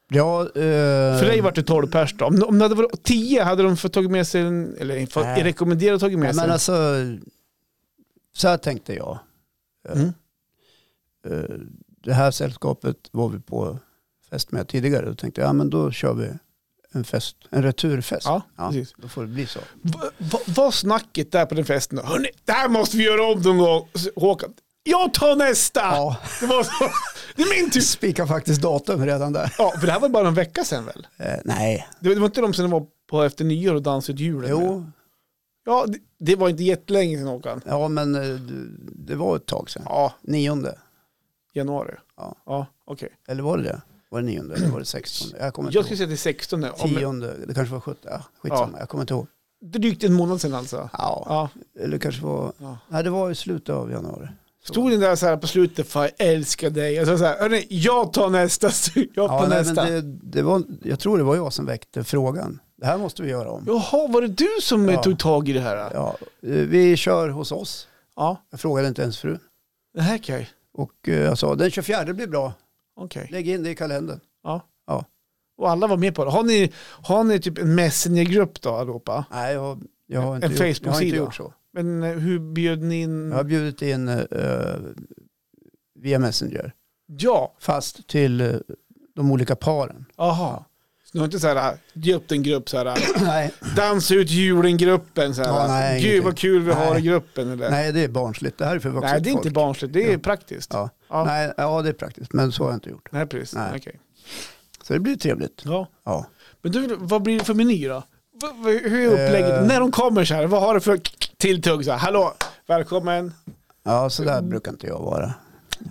Speaker 2: Ja, eh,
Speaker 1: För dig vart det 12 pers då. Om, om det hade varit 10 hade de fått tagit med sig, en, eller fått
Speaker 2: Nej.
Speaker 1: rekommenderat tagit med
Speaker 2: nej,
Speaker 1: sig.
Speaker 2: men alltså, så här tänkte jag.
Speaker 1: mm.
Speaker 2: Eh, det här sällskapet var vi på fest med tidigare. Då tänkte jag, ja men då kör vi en fest, en returfest.
Speaker 1: ja, precis.
Speaker 2: Då får det bli så.
Speaker 1: Va- va- Vad snacket där på den festen? då? Hörrni, det här måste vi göra om någon gång. Så Håkan, jag tar nästa!
Speaker 2: Ja, (laughs)
Speaker 1: Det, var så, det är min tur.
Speaker 2: spikar faktiskt datum redan där.
Speaker 1: Ja, för det här var bara en vecka sedan väl?
Speaker 2: Eh, nej,
Speaker 1: Det var- det var inte de som var på efter nyår och dansade ut julen? med.
Speaker 2: jo,
Speaker 1: Ja, det, det var inte jättelänge sedan Håkan.
Speaker 2: ja men eh, du- det var ett tag sedan.
Speaker 1: Ja,
Speaker 2: Nionde,
Speaker 1: januari.
Speaker 2: Ja.
Speaker 1: ja okej.
Speaker 2: eller var det det? Var det nionde eller var det sextonde? Jag kommer inte
Speaker 1: Jag skulle
Speaker 2: ihåg.
Speaker 1: säga att det är 16 nu. Ja, men
Speaker 2: Tionde, det kanske var sjuttonde. Ja, skitsamma, jag kommer inte ihåg.
Speaker 1: det är drygt en månad sedan alltså.
Speaker 2: Ja,
Speaker 1: Ja.
Speaker 2: eller kanske var...
Speaker 1: Ja.
Speaker 2: Nej, det var i slutet av januari.
Speaker 1: Stod den där så här på slutet, fan jag älskar dig. Jag sa så här, hörni, jag tar nästa. Jag tar
Speaker 2: Ja, nej, men
Speaker 1: nästa.
Speaker 2: det, det var, jag tror det var jag som väckte frågan. Det här måste vi göra om.
Speaker 1: Jaha, var det du som eh,
Speaker 2: Ja.
Speaker 1: tog tag i det här? då?
Speaker 2: Ja, eh, vi kör hos oss.
Speaker 1: Ja.
Speaker 2: Jag frågade inte ens frun.
Speaker 1: Det här kan jag.
Speaker 2: Och eh, jag sa den 24 blir bra.
Speaker 1: Okej.
Speaker 2: Lägg in det i kalendern.
Speaker 1: Ja.
Speaker 2: Ja.
Speaker 1: Och alla var med på det. Har ni, har ni typ en messengergrupp då allihopa?
Speaker 2: Nej, jag, har- jag, har, inte
Speaker 1: En
Speaker 2: gjort, jag har inte
Speaker 1: Facebook-sida.
Speaker 2: gjort så.
Speaker 1: Men eh, hur bjöd ni in?
Speaker 2: Jag har bjudit in eh, via Messenger.
Speaker 1: Ja,
Speaker 2: Fast till eh, de olika paren.
Speaker 1: aha. Så ni har inte så här, eh, ge upp en grupp så här, eh,
Speaker 2: nej,
Speaker 1: dansa ut julen-gruppen så här. eh,
Speaker 2: Ja, nej,
Speaker 1: Gud
Speaker 2: ingenting.
Speaker 1: vad kul vi har
Speaker 2: Nej.
Speaker 1: i gruppen eller? Nej,
Speaker 2: nej, det är barnsligt. Det här är för vuxet
Speaker 1: det är inte
Speaker 2: folk.
Speaker 1: barnsligt, det är
Speaker 2: Ja.
Speaker 1: praktiskt.
Speaker 2: Ja.
Speaker 1: Ja.
Speaker 2: Nej, ja, det är praktiskt. Men så har jag inte gjort.
Speaker 1: Nej, precis. Nej.
Speaker 2: Nej.
Speaker 1: okej.
Speaker 2: Så det blir trevligt.
Speaker 1: Ja.
Speaker 2: Ja.
Speaker 1: Men du, vad blir det för meny då? V- v- hur är upplägget?
Speaker 2: Eh.
Speaker 1: När de kommer så här, vad har du för tilltugg? Så här, Hallå, välkommen.
Speaker 2: Ja, så
Speaker 1: Mm.
Speaker 2: där brukar inte jag vara.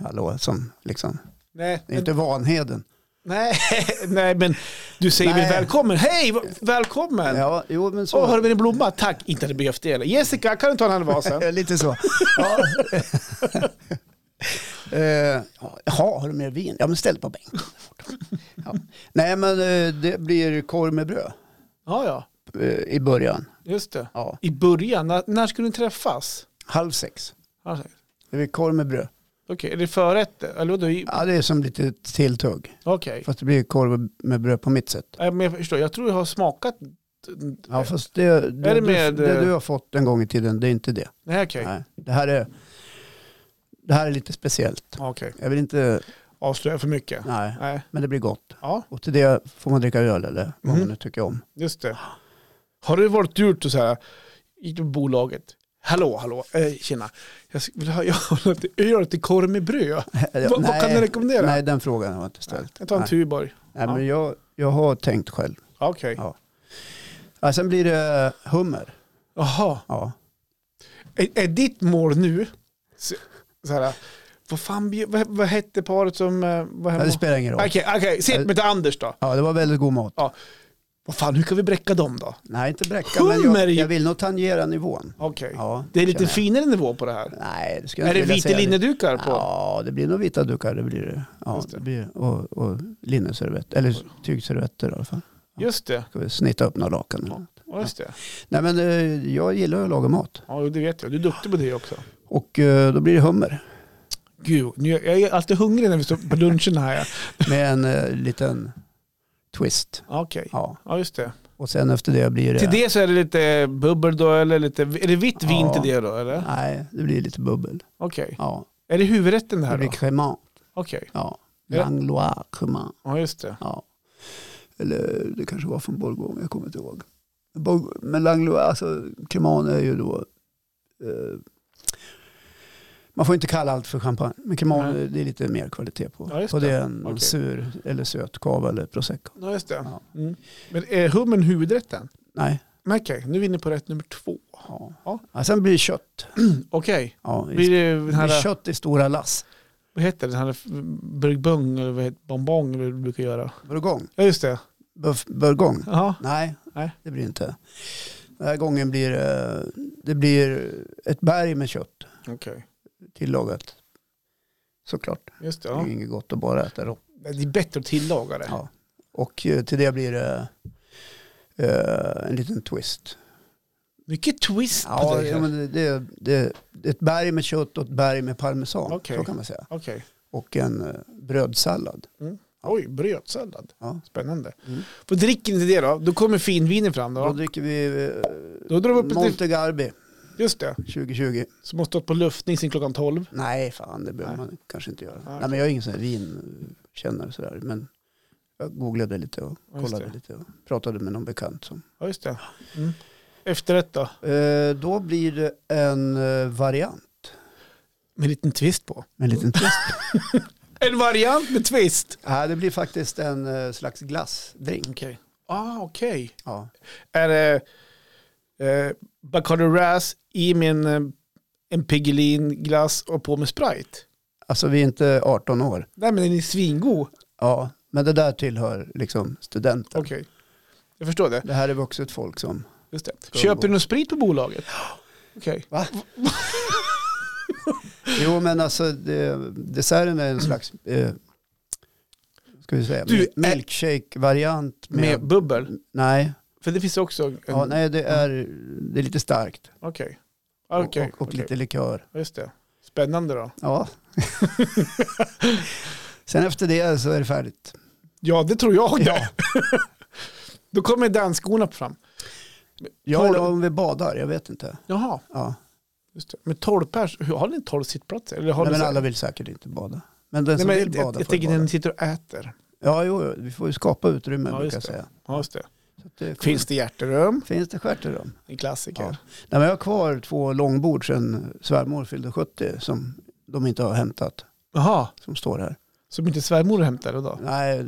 Speaker 2: Hallå, som liksom.
Speaker 1: Nej,
Speaker 2: Det är inte Vanheden.
Speaker 1: nej, (laughs) nej men du säger väl
Speaker 2: Nej.
Speaker 1: välkommen? Hej, v- välkommen!
Speaker 2: Ja, jo men så.
Speaker 1: Åh, har du en blomma? Tack, inte hade behövt det eller? Jessica, kan du ta den
Speaker 2: (laughs)
Speaker 1: här vasen?
Speaker 2: Lite så. Ja.
Speaker 1: (laughs)
Speaker 2: Eh, ja, Jaha, har du mer vin? Ja, men ställ på bänken. Ja. Nej, men eh, det blir korv med bröd
Speaker 1: ja, ja,
Speaker 2: eh, i början.
Speaker 1: just det.
Speaker 2: Ja.
Speaker 1: I början, när, när skulle ni träffas?
Speaker 2: Halv sex.
Speaker 1: Har han sagt.
Speaker 2: Det blir korv med bröd.
Speaker 1: Okej, är det förrätt? Eller vadå? I-
Speaker 2: Ja, det är som lite tilltugg.
Speaker 1: Okej.
Speaker 2: Fast det blir korv med bröd på mitt sätt.
Speaker 1: Ja, men Jag förstår, jag tror jag har smakat...
Speaker 2: Ja, fast det, det,
Speaker 1: Är det
Speaker 2: du-
Speaker 1: med,
Speaker 2: det
Speaker 1: eh,
Speaker 2: du har fått en gång i tiden, det är inte det.
Speaker 1: Nej, okej.
Speaker 2: Nej. Det, här är, det här är lite speciellt.
Speaker 1: Okej,
Speaker 2: Jag vill inte...
Speaker 1: avslöja för mycket.
Speaker 2: Nej,
Speaker 1: Nej,
Speaker 2: men det blir gott.
Speaker 1: ja,
Speaker 2: Och till det får man dricka öl eller vad
Speaker 1: Mhm.
Speaker 2: man nu tycker om.
Speaker 1: just det.
Speaker 2: Ah.
Speaker 1: Har det varit dyrt att så här, i bolaget, hallå, hallå, eh, tjena, jag vill ha, jag vill ha lite öl till korv med bröd.
Speaker 2: Ja,
Speaker 1: Vad- vad kan
Speaker 2: nej,
Speaker 1: du rekommendera?
Speaker 2: Nej, den frågan har jag inte ställt.
Speaker 1: Jag tar en
Speaker 2: Nej.
Speaker 1: Tuborg.
Speaker 2: Nej,
Speaker 1: Ja.
Speaker 2: men jag, jag har tänkt själv.
Speaker 1: Ja, Okej,
Speaker 2: Ja. Ja, sen blir det hummer.
Speaker 1: jaha.
Speaker 2: Ja.
Speaker 1: Är, är ditt mål nu, så, så här, vad fan, bjud- vad, vad hette paret som eh, var
Speaker 2: Ja,
Speaker 1: hemma?
Speaker 2: det spelar ingen roll.
Speaker 1: Okej, okej, sitt med till Anders då.
Speaker 2: Ja, det var väldigt god mat.
Speaker 1: Vad fan, hur kan vi bräcka dem då?
Speaker 2: Nej, inte bräcka, men
Speaker 1: Hummer
Speaker 2: jag,
Speaker 1: i-
Speaker 2: jag vill nog tangera nivån.
Speaker 1: Okej,
Speaker 2: Ja,
Speaker 1: det är lite
Speaker 2: känner jag.
Speaker 1: finare nivå på det här.
Speaker 2: Nej, det skulle jag
Speaker 1: Är det
Speaker 2: inte vilja
Speaker 1: vita
Speaker 2: säga.
Speaker 1: linnedukar på?
Speaker 2: Ja, det blir nog vita dukar. Det blir det. Ja,
Speaker 1: Just det.
Speaker 2: det. blir, och, och linneservetter, eller tygservetter i alla fall.
Speaker 1: Just det,
Speaker 2: Ska vi snitta upp några lakan. eller
Speaker 1: Ja.
Speaker 2: något.
Speaker 1: ja, just det.
Speaker 2: Nej, men eh, jag gillar ju att laga mat.
Speaker 1: Ja, det vet jag. Du är duktig på det också.
Speaker 2: Och eh, då blir det hummer
Speaker 1: Gud, nu, jag är alltid hungrig när vi står på lunchen här.
Speaker 2: med en
Speaker 1: (laughs)
Speaker 2: eh, liten twist.
Speaker 1: Ja, Okej,
Speaker 2: Ja.
Speaker 1: ja just det.
Speaker 2: Och sen efter det blir det...
Speaker 1: Till det så är det lite bubbel då, eller lite, är det vitt vin
Speaker 2: Ja.
Speaker 1: till det då? eller?
Speaker 2: Nej, det blir lite bubbel.
Speaker 1: Okej,
Speaker 2: Ja.
Speaker 1: är det huvudrätten det
Speaker 2: Det
Speaker 1: här
Speaker 2: blir
Speaker 1: då?
Speaker 2: cremant.
Speaker 1: Okej,
Speaker 2: Ja.
Speaker 1: Ja.
Speaker 2: Langlois cremant.
Speaker 1: ja just det.
Speaker 2: Ja. Eller det kanske var från Bourgogne, jag kommer inte ihåg. Bourg- Men Langlois, alltså cremant är ju då... Eh, man får inte kalla allt för champagne. Men cremant,
Speaker 1: Nej.
Speaker 2: det är lite mer kvalitet på.
Speaker 1: Ja, just
Speaker 2: på det än
Speaker 1: Okej.
Speaker 2: sur eller söt cava eller prosecco.
Speaker 1: Ja, just det.
Speaker 2: Ja.
Speaker 1: Mm. Men är hummen huvudrätten?
Speaker 2: Nej.
Speaker 1: Men okej, nu är vi inne på rätt nummer två.
Speaker 2: Ja.
Speaker 1: Ja.
Speaker 2: Ja, sen blir det kött.
Speaker 1: Okej,
Speaker 2: Ja, i-
Speaker 1: blir det den
Speaker 2: det blir
Speaker 1: här,
Speaker 2: kött i stora lass.
Speaker 1: vad heter det, den här burgbung eller vad heter bonbong eller vad du brukar göra?
Speaker 2: Bourgogne.
Speaker 1: Ja, just det.
Speaker 2: Buff- Bourgogne.
Speaker 1: Ja,
Speaker 2: Nej,
Speaker 1: Nej.
Speaker 2: det blir inte. Den här gången blir det, det blir ett berg med kött
Speaker 1: Okej.
Speaker 2: tillagat. Såklart.
Speaker 1: Just det,
Speaker 2: Det är
Speaker 1: ja.
Speaker 2: ju inget gott att bara äta rå.
Speaker 1: Men Det är bättre att tillaga det.
Speaker 2: Ja. Och eh, till det blir det eh, en liten twist.
Speaker 1: Mycket twist på
Speaker 2: Ja,
Speaker 1: det. här.
Speaker 2: ja, men det, det, det, det är ett berg med kött och ett berg med parmesan.
Speaker 1: Okej.
Speaker 2: Så kan man säga.
Speaker 1: Okej.
Speaker 2: Och en eh, brödsallad.
Speaker 1: Oj, brödsallad.
Speaker 2: Ja.
Speaker 1: Spännande.
Speaker 2: Mm.
Speaker 1: Vad dricker ni till det då? Då kommer finvinen fram
Speaker 2: Då
Speaker 1: då.
Speaker 2: dricker vi eh,
Speaker 1: Då drar vi upp ett...
Speaker 2: Monte Garbi
Speaker 1: Just det.
Speaker 2: 2020.
Speaker 1: Som har stått på luftning sedan klockan 12.
Speaker 2: Nej, fan det behöver
Speaker 1: Nej.
Speaker 2: man kanske inte göra.
Speaker 1: Nej.
Speaker 2: Nej, men jag är ingen sån här vinkännare sådär. Men jag googlade lite och
Speaker 1: Ja, just
Speaker 2: kollade
Speaker 1: det.
Speaker 2: lite och pratade med någon bekant. Som.
Speaker 1: Ja, just det. Mm. Efterrätt då?
Speaker 2: Eh, då blir det en eh, variant.
Speaker 1: Med en liten twist på.
Speaker 2: En (laughs) liten twist.
Speaker 1: En variant med twist.
Speaker 2: Nej, det blir faktiskt en eh, slags glassdrink.
Speaker 1: Okej. Ah, okej.
Speaker 2: Ja.
Speaker 1: Är det eh, Bacardi Ras i min eh, en Piggelin-glass och på med Sprite?
Speaker 2: Alltså vi är inte 18 år.
Speaker 1: Nej, men den är svingod.
Speaker 2: Ja, men det där tillhör liksom studenten.
Speaker 1: Okej. Jag förstår det.
Speaker 2: Det här är vuxet folk som...
Speaker 1: Just det.
Speaker 2: Ska
Speaker 1: Köper
Speaker 2: gå.
Speaker 1: du någon sprit
Speaker 2: (gasps)
Speaker 1: på bolaget? Okej.
Speaker 2: Jo, men alltså det, desserten är en slags... Eh, ska vi säga?
Speaker 1: Du,
Speaker 2: Du,
Speaker 1: ä-
Speaker 2: milkshake-variant med... Mm.
Speaker 1: Med bubbel?
Speaker 2: nej,
Speaker 1: För det finns också en...
Speaker 2: ja, nej det, är, det är lite starkt.
Speaker 1: Okej. Ah, Okej.
Speaker 2: och och, och
Speaker 1: okej.
Speaker 2: lite likör.
Speaker 1: Just det. Spännande då.
Speaker 2: Ja. (laughs) Sen efter det så är det färdigt.
Speaker 1: Ja, det tror (laughs) jag. Ja. Då kommer dansskorna fram.
Speaker 2: Ja,
Speaker 1: Tolv-
Speaker 2: eller om vi badar, jag vet inte.
Speaker 1: Jaha,
Speaker 2: Ja.
Speaker 1: just det. Men 12 pers, hur- har ni 12 sittplatser? Eller har
Speaker 2: Nej,
Speaker 1: ni
Speaker 2: men
Speaker 1: så-
Speaker 2: alla vill säkert inte bada. Men den
Speaker 1: Nej,
Speaker 2: som
Speaker 1: men
Speaker 2: vill
Speaker 1: jag,
Speaker 2: bada
Speaker 1: jag, jag
Speaker 2: får
Speaker 1: tänker när
Speaker 2: bada.
Speaker 1: ni sitter och äter.
Speaker 2: Ja, jo, jo, vi får ju skapa utrymme
Speaker 1: Ja,
Speaker 2: brukar jag
Speaker 1: just
Speaker 2: säga.
Speaker 1: Ja, just det.
Speaker 2: Så att det
Speaker 1: Finns det hjärterum?
Speaker 2: finns det stjärterum?
Speaker 1: En klassiker.
Speaker 2: Ja. Nej, men jag har kvar två långbord sedan svärmor fyllde 70 som de inte har hämtat,
Speaker 1: Jaha,
Speaker 2: som står här.
Speaker 1: som inte svärmor hämtade då?
Speaker 2: Nej, eh,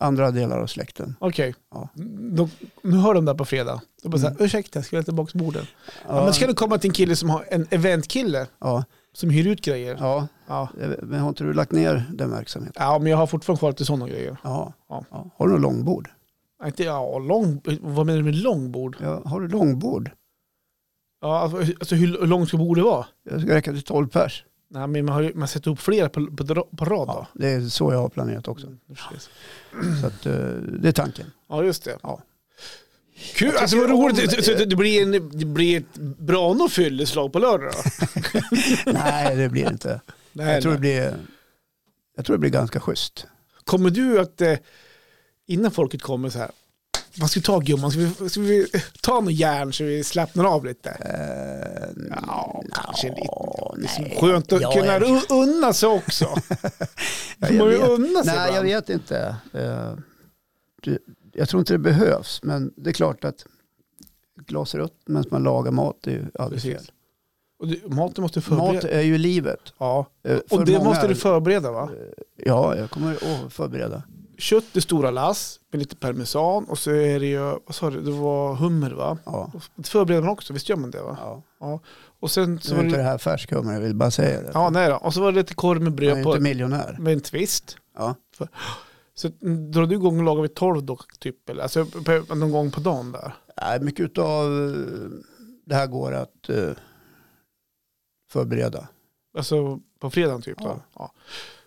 Speaker 2: andra delar av släkten.
Speaker 1: Okej,
Speaker 2: Ja.
Speaker 1: Då- nu hör de där på fredag. Då bara så här,
Speaker 2: Mm.
Speaker 1: ursäkta, jag ska jag tillbaka borden? Ja,
Speaker 2: Ja,
Speaker 1: men ska du komma till en kille som har en eventkille
Speaker 2: ja,
Speaker 1: som hyr ut grejer? Ja.
Speaker 2: ja,
Speaker 1: ja.
Speaker 2: men har inte du lagt ner den verksamheten?
Speaker 1: men jag har fortfarande kvar till sådana grejer.
Speaker 2: Ja.
Speaker 1: Ja.
Speaker 2: Ja. Har du långbord?
Speaker 1: Nej, Inte, ja, lång, vad menar du med långbord?
Speaker 2: Ja, har du långbord?
Speaker 1: Ja, alltså, hur- alltså hur hur långt ska bordet vara?
Speaker 2: Jag ska räcka till 12 pers.
Speaker 1: Nej, men man har ju- man sätter upp flera på, på, dra- på rad då.
Speaker 2: Ja, det är så jag har planerat också.
Speaker 1: Mm, precis.
Speaker 2: Så att, eh, det är tanken.
Speaker 1: (laughs) Ja, just det.
Speaker 2: Ja.
Speaker 1: Kul, alltså vad
Speaker 2: tycker om
Speaker 1: roligt. Det,
Speaker 2: det.
Speaker 1: så det, blir en, det blir ett bra nog fylleslag på lördag då?
Speaker 2: Nej, det blir det inte. (laughs)
Speaker 1: Nej,
Speaker 2: Jag tror det
Speaker 1: nej.
Speaker 2: blir, jag tror det blir ganska schysst.
Speaker 1: Kommer du att, eh, innan folket kommer så här, vad ska vi ta gumman? Ska vi, ska vi ta något järn så vi slappnar av
Speaker 2: Eh,
Speaker 1: lite? Ja, kanske lite. Det är så skönt att
Speaker 2: Ja,
Speaker 1: kunna
Speaker 2: jag-
Speaker 1: u- unna sig också.
Speaker 2: Ja,
Speaker 1: Får man
Speaker 2: (laughs)
Speaker 1: ju
Speaker 2: jag vet.
Speaker 1: unna sig
Speaker 2: Nej, jag
Speaker 1: ibland.
Speaker 2: vet inte. Eh, det- Jag tror inte det behövs, men det är klart att ett glas rött medan man lagar mat är ju aldrig
Speaker 1: Precis.
Speaker 2: fel.
Speaker 1: Och du, maten måste förbereda.
Speaker 2: Mat är ju livet.
Speaker 1: Ja,
Speaker 2: Eh, för
Speaker 1: och det
Speaker 2: många-
Speaker 1: måste du förbereda va?
Speaker 2: Ja, jag kommer att förbereda.
Speaker 1: Kött i stora lass med lite parmesan och så är det ju, vad sa du, det var hummer va?
Speaker 2: Ja.
Speaker 1: Och Det förbereder man också, visst gör man det va?
Speaker 2: Ja.
Speaker 1: Och sen så
Speaker 2: Nu
Speaker 1: var
Speaker 2: är inte det
Speaker 1: det,
Speaker 2: här färsk hummer, jag vill bara säga det.
Speaker 1: ja, nej då. Och så var det lite korv med
Speaker 2: jag är
Speaker 1: bröd
Speaker 2: inte
Speaker 1: på,
Speaker 2: miljonär.
Speaker 1: med en twist.
Speaker 2: Ja.
Speaker 1: Så mm, drar du igång och lagar vid tolv då typ? Eller? Alltså på- någon gång på dagen där?
Speaker 2: Nej, mycket av det här går att eh, förbereda.
Speaker 1: Alltså på fredagen typ då?
Speaker 2: Ja.
Speaker 1: Ja.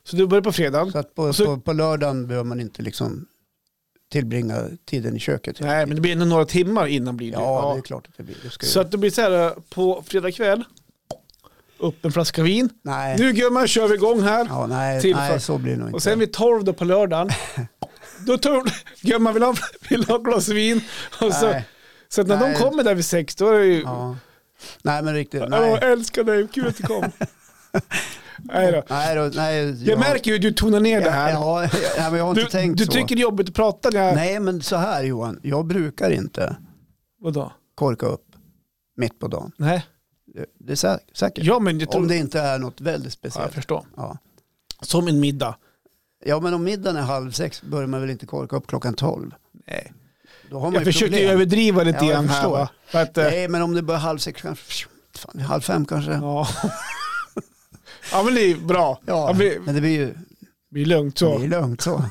Speaker 1: Så du börjar på fredagen?
Speaker 2: Så att på,
Speaker 1: så-
Speaker 2: på, på lördagen behöver man inte liksom tillbringa tiden i köket. hela
Speaker 1: Nej,
Speaker 2: tiden.
Speaker 1: men det blir ändå några timmar innan blir det.
Speaker 2: ja, det är klart att det blir. Det ska ju-
Speaker 1: Så att det blir så här eh, på fredag kväll, upp en flaska vin.
Speaker 2: nej,
Speaker 1: Nu gumman kör vi igång här.
Speaker 2: ja, nej,
Speaker 1: till för-
Speaker 2: nej, så blir det nog inte.
Speaker 1: Och sen vid 12 då
Speaker 2: (laughs)
Speaker 1: på lördagen, då tar gumman vill ha, vill ha ett glas vin. Och så,
Speaker 2: nej,
Speaker 1: så att när
Speaker 2: Nej.
Speaker 1: de kommer där vid sex, då är det ju,
Speaker 2: ja. nej, men riktigt.
Speaker 1: jag
Speaker 2: Nej,
Speaker 1: älskar dig, kul att
Speaker 2: (laughs)
Speaker 1: du kom. Nej då.
Speaker 2: nej, då, nej
Speaker 1: Jag märker ju hur du tonar ner det här.
Speaker 2: Ja, ja, ja, men jag har inte
Speaker 1: du
Speaker 2: tänkt
Speaker 1: du
Speaker 2: så.
Speaker 1: tycker det är jobbigt att prata när jag...
Speaker 2: Nej, men så här Johan, jag brukar inte
Speaker 1: Vadå?
Speaker 2: korka upp mitt på dagen.
Speaker 1: Nej.
Speaker 2: Det- Det är sä- säkert.
Speaker 1: Ja, men jag tror...
Speaker 2: Om det inte är något väldigt
Speaker 1: ja, jag
Speaker 2: speciellt.
Speaker 1: förstår.
Speaker 2: Ja.
Speaker 1: Som en middag.
Speaker 2: ja, men om middagen är halv sex börjar man väl inte korka upp klockan tolv?
Speaker 1: Nej.
Speaker 2: Då har man
Speaker 1: Jag
Speaker 2: ju
Speaker 1: försöker ju
Speaker 2: problem.
Speaker 1: överdriva lite
Speaker 2: Ja, jag
Speaker 1: grann här.
Speaker 2: förstår.
Speaker 1: Va? För att, eh,
Speaker 2: Nej, men om det börjar halv sex kanske, fan, halv fem kanske. Ja,
Speaker 1: ja. ja, men det är bra. Ja, men-
Speaker 2: men det blir ju
Speaker 1: Det är lugnt (laughs)
Speaker 2: det
Speaker 1: så.
Speaker 2: är lugnt så.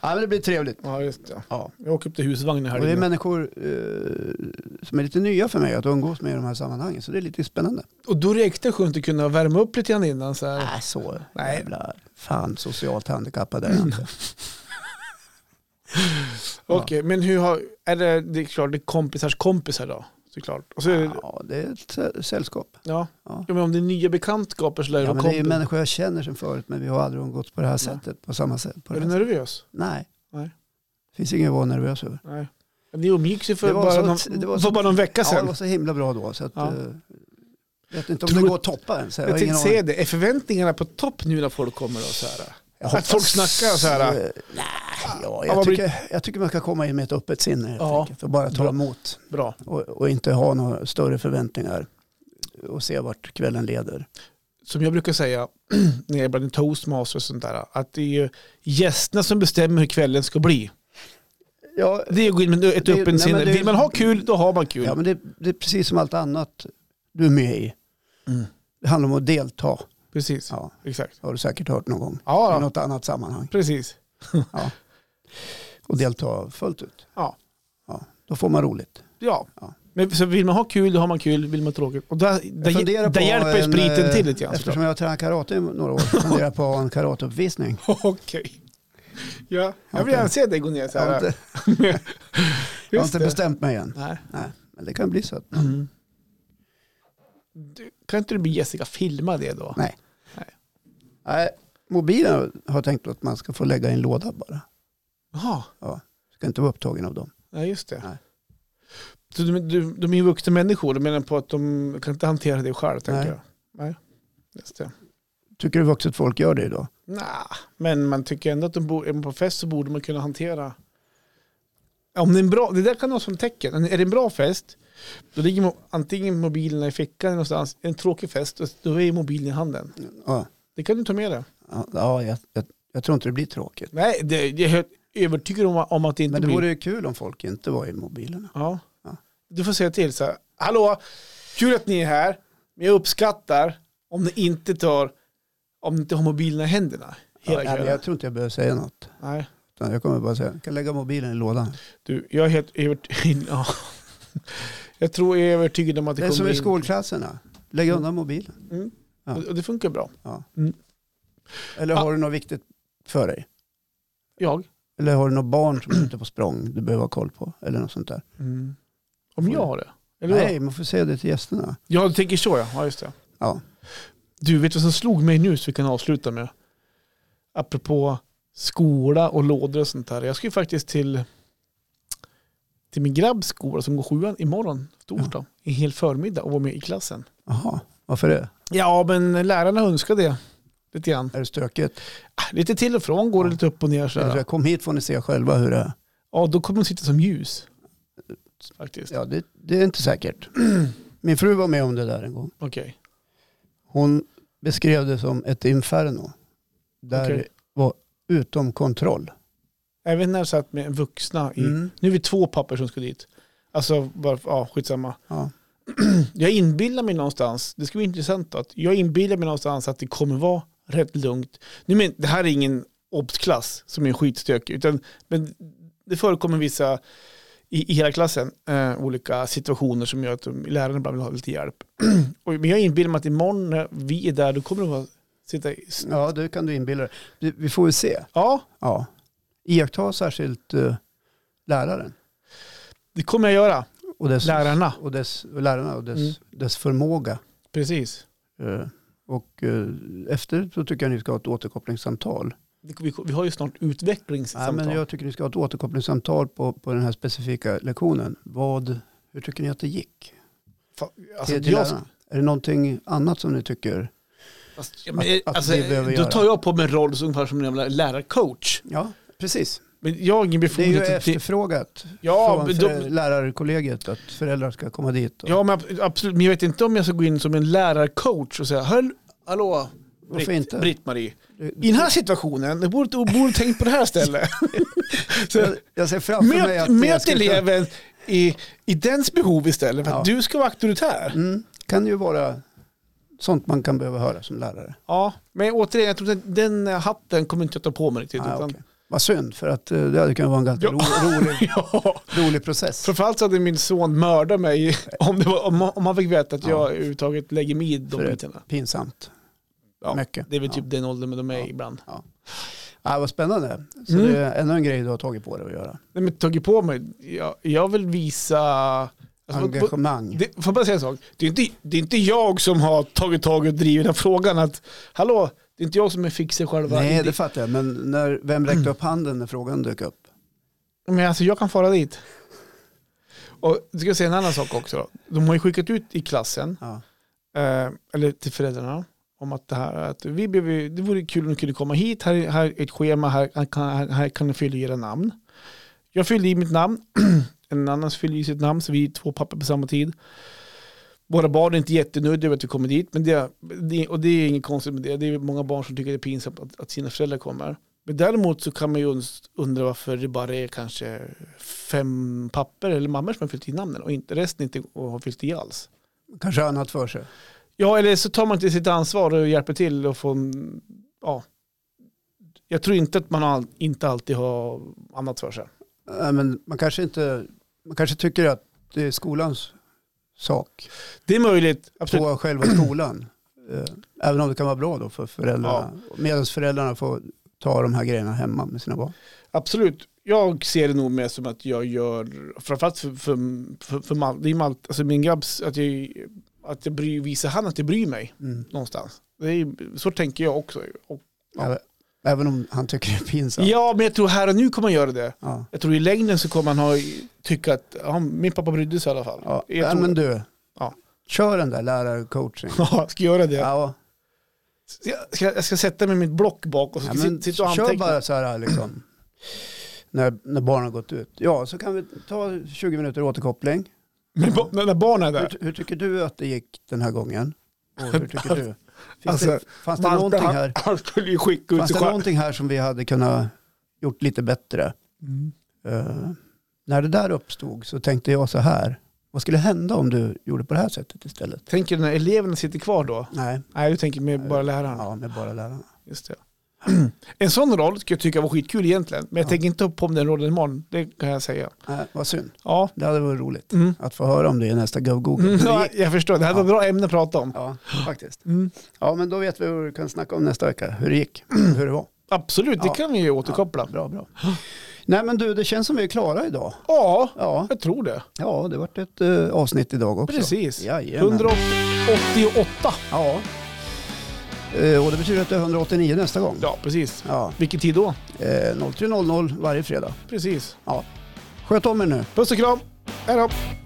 Speaker 2: Ja, men det blir trevligt.
Speaker 1: Ja, just det.
Speaker 2: Ja.
Speaker 1: Jag åker upp till husvagnen här.
Speaker 2: Och det är
Speaker 1: inne.
Speaker 2: människor eh, som är lite nya för mig att umgås med i de här sammanhangen. Så det är lite spännande.
Speaker 1: Och då räckte det skönt att kunna värma upp lite grann innan. Så här.
Speaker 2: Nej, så
Speaker 1: Nej. Mm.
Speaker 2: jävla fan socialt handikappad är (laughs) jag inte.
Speaker 1: Okej, men hur har, är det, det är klart det är kompisars kompisar då? Såklart. Och så är det, ja.
Speaker 2: Ja, det är ett sä- sällskap.
Speaker 1: Ja.
Speaker 2: Ja.
Speaker 1: men om det är nya bekantskaper så lär det
Speaker 2: Ja,
Speaker 1: vara
Speaker 2: men det är ju
Speaker 1: kompis.
Speaker 2: människor jag känner sedan förut, men vi har aldrig umgåtts på det här sättet. På samma sätt. På
Speaker 1: Är
Speaker 2: det
Speaker 1: du
Speaker 2: här. sättet.
Speaker 1: nervös?
Speaker 2: Nej.
Speaker 1: Nej.
Speaker 2: Det finns inget att vara nervös över.
Speaker 1: Nej. Men Ni umgicks ju för,
Speaker 2: Det var
Speaker 1: bara
Speaker 2: så-
Speaker 1: någon,
Speaker 2: det var
Speaker 1: för
Speaker 2: så-
Speaker 1: bara någon vecka
Speaker 2: Ja, det
Speaker 1: sedan.
Speaker 2: var så himla bra då. Så att,
Speaker 1: Ja.
Speaker 2: eh, vet inte om
Speaker 1: Tror-
Speaker 2: det går att toppa ens. Jag, har
Speaker 1: jag
Speaker 2: ingen
Speaker 1: tänkte
Speaker 2: aning.
Speaker 1: säga det, är typ förväntningarna på topp nu när folk kommer och så här?
Speaker 2: Jag
Speaker 1: Att
Speaker 2: hoppas-
Speaker 1: folk snackar så här.
Speaker 2: Eh, Nej, ja,
Speaker 1: Ja,
Speaker 2: jag,
Speaker 1: vad blir-
Speaker 2: tycker, jag tycker man ska komma in med ett öppet sinne helt
Speaker 1: Ja.
Speaker 2: enkelt, och bara ta
Speaker 1: Bra.
Speaker 2: emot
Speaker 1: Bra.
Speaker 2: och, och inte ha några större förväntningar och se vart kvällen leder.
Speaker 1: Som jag brukar säga (clears throat) när jag är bland toastmaster och sånt där, att det är ju gästerna som bestämmer hur kvällen ska bli.
Speaker 2: Ja,
Speaker 1: Det är att gå in med ett
Speaker 2: Det är- nej,
Speaker 1: öppet
Speaker 2: men
Speaker 1: sinne.
Speaker 2: det är-
Speaker 1: Vill man ha kul, då har man kul.
Speaker 2: ja men det, det är precis som allt annat du är med i.
Speaker 1: Mm.
Speaker 2: Det handlar om att delta,
Speaker 1: Precis,
Speaker 2: ja,
Speaker 1: exakt.
Speaker 2: har du säkert hört någon gång i
Speaker 1: Ja, ja,
Speaker 2: något annat sammanhang.
Speaker 1: precis.
Speaker 2: Och delta fullt ut.
Speaker 1: Ja.
Speaker 2: ja då får man roligt.
Speaker 1: Ja.
Speaker 2: Ja.
Speaker 1: Men, så vill man ha kul, då har man kul. Vill man ha tråkigt. Och där,
Speaker 2: Jag
Speaker 1: där,
Speaker 2: funderar
Speaker 1: där
Speaker 2: på
Speaker 1: hjälper ju
Speaker 2: en,
Speaker 1: spriten
Speaker 2: eh,
Speaker 1: till lite grann.
Speaker 2: Eftersom jag har tränat karate i några år
Speaker 1: (laughs)
Speaker 2: så funderar jag på en karateuppvisning.
Speaker 1: såklart. (laughs) Okej. Ja, jag vill
Speaker 2: Okej.
Speaker 1: gärna se dig gå ner så
Speaker 2: Jag har
Speaker 1: här. (laughs)
Speaker 2: inte, jag har
Speaker 1: Just
Speaker 2: inte
Speaker 1: det.
Speaker 2: bestämt mig än.
Speaker 1: Nej.
Speaker 2: Nej, men det kan bli så. Att,
Speaker 1: Du, kan inte du be Jessica filma det då?
Speaker 2: nej.
Speaker 1: Nej.
Speaker 2: nej. Mobilen har jag tänkt att man ska få lägga i en låda bara.
Speaker 1: Jaha,
Speaker 2: Ska inte vara upptagen av dem.
Speaker 1: nej just det.
Speaker 2: Nej.
Speaker 1: Så du, du, de är ju vuxna människor, du menar på att de kan inte hantera det själv, tänker
Speaker 2: Nej.
Speaker 1: jag. Nej, just det.
Speaker 2: Tycker du vuxet folk gör det idag?
Speaker 1: Nja, men man tycker ändå att de bor, är man på fest så borde man kunna hantera. Om det, är en bra, det där kan vara som tecken. Är det en bra fest, då ligger mo- antingen mobilerna i fickan eller någonstans. En tråkig fest, då- då är mobilen i handen.
Speaker 2: Ja,
Speaker 1: Det kan du ta med dig.
Speaker 2: ja, ja jag, jag, jag tror inte det blir tråkigt.
Speaker 1: Nej, det, jag är helt övertygad om, om att det inte
Speaker 2: Men det
Speaker 1: blir.
Speaker 2: vore ju kul om folk inte var i mobilerna.
Speaker 1: Ja.
Speaker 2: Ja.
Speaker 1: Du får säga till så här. Hallå, kul att ni är här. Men jag uppskattar om ni inte tar, om ni inte har mobilerna i händerna
Speaker 2: Ja,
Speaker 1: hela
Speaker 2: nej, men
Speaker 1: kvällen.
Speaker 2: jag tror inte jag behöver säga något.
Speaker 1: Nej,
Speaker 2: Utan Jag kommer bara säga, jag kan lägga mobilen i lådan.
Speaker 1: du, jag är helt (laughs) övertygad. Ja. Jag tror jag är övertygad om att det,
Speaker 2: Det är som
Speaker 1: kommer
Speaker 2: i skolklasserna, lägg undan mobilen.
Speaker 1: Mm.
Speaker 2: Ja.
Speaker 1: Och det funkar bra.
Speaker 2: Eller har du något viktigt för dig?
Speaker 1: Jag?
Speaker 2: Eller har du något barn som är ute på språng du behöver ha koll på? Eller något sånt där.
Speaker 1: Om jag har det? Eller Mm. Nej.
Speaker 2: Nej, man får säga det till gästerna.
Speaker 1: Ja, du tänker så ja. ja, just det.
Speaker 2: Ja.
Speaker 1: Du, vet du vad som slog mig nu så vi kan avsluta med? Apropå skola och lådor och sånt där. Jag ska ju faktiskt till, till min grabbs skola som går sjuan imorgon, torsdag, en hel förmiddag och vara med i klassen.
Speaker 2: Jaha, varför det?
Speaker 1: Ja, men lärarna önskar det lite grann.
Speaker 2: Är det stökigt?
Speaker 1: Ah, Lite till och från går det lite upp och ner
Speaker 2: Eller så
Speaker 1: sådär.
Speaker 2: här, kom hit får ni se själva hur det är.
Speaker 1: Ja, då kommer de sitta som ljus. Faktiskt.
Speaker 2: Ja, det, det är inte säkert. (clears throat) Min fru var med om det där en gång.
Speaker 1: Okej.
Speaker 2: Hon beskrev det som ett inferno. Där
Speaker 1: Okej.
Speaker 2: det var utom kontroll.
Speaker 1: Även när jag satt med vuxna i...
Speaker 2: Mm.
Speaker 1: Nu är vi två papper som ska dit. Alltså, bara, ja, skitsamma.
Speaker 2: Ja.
Speaker 1: Jag inbillar mig någonstans, det ska bli intressant då, att jag inbillar mig någonstans att det kommer vara rätt lugnt. Nu men, det här är ingen obsklass som är skitstökig, utan men det förekommer vissa i, i hela klassen eh, olika situationer som gör att de, lärarna ibland vill ha lite hjälp. (clears throat) Och, men jag inbillar mig att imorgon när vi är där, då kommer det vara sitta i...
Speaker 2: ja, det kan du inbilla dig. Vi, vi får väl se.
Speaker 1: Ja,
Speaker 2: Ja. Iaktta särskilt eh, läraren.
Speaker 1: det kommer jag göra.
Speaker 2: Och dess,
Speaker 1: Lärarna.
Speaker 2: och dess, och lärarna och dess,
Speaker 1: Mm.
Speaker 2: dess förmåga.
Speaker 1: Precis.
Speaker 2: Eh, Och eh, efter så tycker jag ni ska ha ett återkopplingssamtal.
Speaker 1: Det- Vi, vi har ju snart utvecklingssamtal.
Speaker 2: Nej, men jag tycker ni ska ha ett återkopplingssamtal på, på den här specifika lektionen. Vad, hur tycker ni att det gick?
Speaker 1: Fan, Alltså,
Speaker 2: till, till
Speaker 1: jag,
Speaker 2: lärarna? Är det någonting annat som ni tycker?
Speaker 1: fast, ja, men,
Speaker 2: att
Speaker 1: alltså,
Speaker 2: vi behöver
Speaker 1: då
Speaker 2: göra.
Speaker 1: tar jag på mig en roll som ungefär som en jävla lärarcoach.
Speaker 2: Ja, precis.
Speaker 1: Men jag har ingen
Speaker 2: Det är ju
Speaker 1: befogenhet till...
Speaker 2: efterfrågat
Speaker 1: typ- Ja,
Speaker 2: från
Speaker 1: men
Speaker 2: för-
Speaker 1: de-
Speaker 2: lärarkollegiet att föräldrar ska komma dit. Och,
Speaker 1: Ja, men ab- absolut. Men jag vet inte om jag ska gå in som en lärarcoach och säga Hall, Hallå,
Speaker 2: Varför
Speaker 1: Britt-
Speaker 2: inte?
Speaker 1: Britt-Marie.
Speaker 2: Det-
Speaker 1: I den här situationen, du borde, du borde tänkt på det
Speaker 2: (laughs)
Speaker 1: här stället. Så,
Speaker 2: jag, jag ser framför mig
Speaker 1: möt
Speaker 2: att... jag
Speaker 1: möt
Speaker 2: skulle kunna-
Speaker 1: eleven i, i dens behov istället för att
Speaker 2: Ja.
Speaker 1: du ska vara auktoritär.
Speaker 2: Mm, kan ju vara sånt man kan behöva höra som lärare.
Speaker 1: Ja, men återigen, jag tror att den hatten kommer inte jag ta på mig riktigt.
Speaker 2: Ah,
Speaker 1: utan
Speaker 2: okej. Vad synd, för att eh, det hade kunnat vara en ganska
Speaker 1: Ja.
Speaker 2: ro,
Speaker 1: (laughs)
Speaker 2: rolig,
Speaker 1: Ja,
Speaker 2: rolig process.
Speaker 1: framförallt så hade min son mördat mig (laughs) om, det var, om, om han fick veta att jag överhuvudtaget lägger mig i de
Speaker 2: För-
Speaker 1: bitarna.
Speaker 2: Pinsamt.
Speaker 1: Ja,
Speaker 2: Mycket.
Speaker 1: Det är väl
Speaker 2: Ja.
Speaker 1: typ den åldern med de är
Speaker 2: Ja.
Speaker 1: ibland.
Speaker 2: Ja, Ah, vad spännande. Så
Speaker 1: Mm. Alltså,
Speaker 2: det är ännu en grej du har tagit på dig att göra.
Speaker 1: Nej men tagit på mig, jag, jag vill visa... Alltså, på- på,
Speaker 2: Engagemang.
Speaker 1: det, får jag bara säga en sak? Det är, inte, det är inte jag som har tagit tag i och drivit den här frågan att, hallå, det är inte jag som är fixer själva.
Speaker 2: Nej,
Speaker 1: det,
Speaker 2: det fattar jag. Men när, vem
Speaker 1: Mm.
Speaker 2: räckte upp handen när frågan dök upp?
Speaker 1: Men alltså jag kan fara dit. Och jag ska jag säga en annan sak också då. De har ju skickat ut i klassen,
Speaker 2: Ja.
Speaker 1: eh, eller till föräldrarna, om att det här, att vi behöver, det vore kul om du kunde komma hit, här, är- här är ett schema, här, här, kan, här, här kan du fylla i era namn. Jag fyllde i mitt namn, (clears throat) en annan fyllde i sitt namn, så vi är två papper på samma tid. Våra barn är inte jättenöjda över att vi kommer dit, men det, det, och det är inget konstigt med det. Det är många barn som tycker det är pinsamt att, att sina föräldrar kommer. Men däremot så kan man ju uns- undra varför det bara är kanske fem papper eller mammor som har fyllt i namnen och inte, resten inte har fyllt i alls.
Speaker 2: Kanske annat för sig.
Speaker 1: Ja, eller så tar man inte sitt ansvar och hjälper till och får, en- ja. Jag tror inte att man all, inte alltid har annat för sig.
Speaker 2: Nej, men man, kanske inte, man kanske tycker att det är skolans sak.
Speaker 1: Det är möjligt, absolut.
Speaker 2: På själva skolan. Eh, Även om det kan vara bra då för föräldrarna. Medan föräldrarna får ta de här grejerna hemma med sina barn.
Speaker 1: Absolut. Jag ser det nog mer som att jag gör, framförallt för, för, för, för Mal, det är Mal, alltså min grabbs, att jag, att jag bryr, visar han att jag bryr mig
Speaker 2: Mm.
Speaker 1: någonstans. Det är, så tänker jag också. Och, Ja.
Speaker 2: Även- Även om han tycker det är pinsamt.
Speaker 1: ja, men jag tror här och nu kommer man göra det.
Speaker 2: Ja.
Speaker 1: Jag tror i längden så kommer man ha, tycka att ja, min pappa brydde sig i alla fall.
Speaker 2: Ja.
Speaker 1: Jag
Speaker 2: Nej,
Speaker 1: tror-
Speaker 2: men du,
Speaker 1: Ja.
Speaker 2: kör den där lärarcoaching.
Speaker 1: (laughs) Ja, jag ska göra det.
Speaker 2: Ja.
Speaker 1: Jag, ska, jag ska sätta mig i mitt block bak och så
Speaker 2: Ja,
Speaker 1: ska
Speaker 2: men,
Speaker 1: sit- sitta och
Speaker 2: kör
Speaker 1: anteckna.
Speaker 2: bara så här liksom. När, när barnen har gått ut. Ja, så kan vi ta 20 minuter återkoppling.
Speaker 1: Men ba- när när barnen är där.
Speaker 2: Hur, hur tycker du att det gick den här gången? Och hur tycker du? Finns
Speaker 1: (laughs) Alltså,
Speaker 2: det, fanns det någonting här?
Speaker 1: (laughs) Han, han skulle ju skicka ut
Speaker 2: Fanns
Speaker 1: sig
Speaker 2: det
Speaker 1: själv.
Speaker 2: någonting här som vi hade kunnat gjort lite bättre?
Speaker 1: Mm.
Speaker 2: Eh, när det där uppstod så tänkte jag så här. Vad skulle hända om du gjorde på det här sättet istället?
Speaker 1: Tänker du när eleverna sitter kvar då?
Speaker 2: Nej,
Speaker 1: Nej, du tänker mer bara läraren.
Speaker 2: ja, med bara lärarna.
Speaker 1: Just det. (clears throat) En sån roll skulle jag tycka var skitkul egentligen. Men jag
Speaker 2: Ja.
Speaker 1: tänker inte på om den rollen imorgon. Det kan jag säga.
Speaker 2: Nej, vad synd.
Speaker 1: Ja,
Speaker 2: Det hade varit roligt
Speaker 1: mm.
Speaker 2: att få höra om det i nästa Go Google.
Speaker 1: Mm, (laughs) ja jag förstår. Det här var
Speaker 2: Ja.
Speaker 1: bra ämne att prata om.
Speaker 2: Ja, faktiskt.
Speaker 1: Mm.
Speaker 2: Ja, men då vet vi hur vi kan snacka om nästa vecka. Hur det gick, (clears throat) hur det var.
Speaker 1: Absolut, det
Speaker 2: Ja.
Speaker 1: kan vi ju återkoppla.
Speaker 2: Bra, bra. Nej, men du, det känns som vi är klara idag.
Speaker 1: Ja,
Speaker 2: Ja,
Speaker 1: jag tror det.
Speaker 2: ja det vart ett eh, avsnitt idag också.
Speaker 1: Precis.
Speaker 2: Jajamän.
Speaker 1: 188.
Speaker 2: Ja. Eh, och det betyder att det är 189 nästa gång.
Speaker 1: Ja, precis.
Speaker 2: Ja.
Speaker 1: Vilken tid då?
Speaker 2: Eh, 03.00 varje fredag.
Speaker 1: Precis.
Speaker 2: Sköt om er nu.
Speaker 1: Puss och kram. Hej då.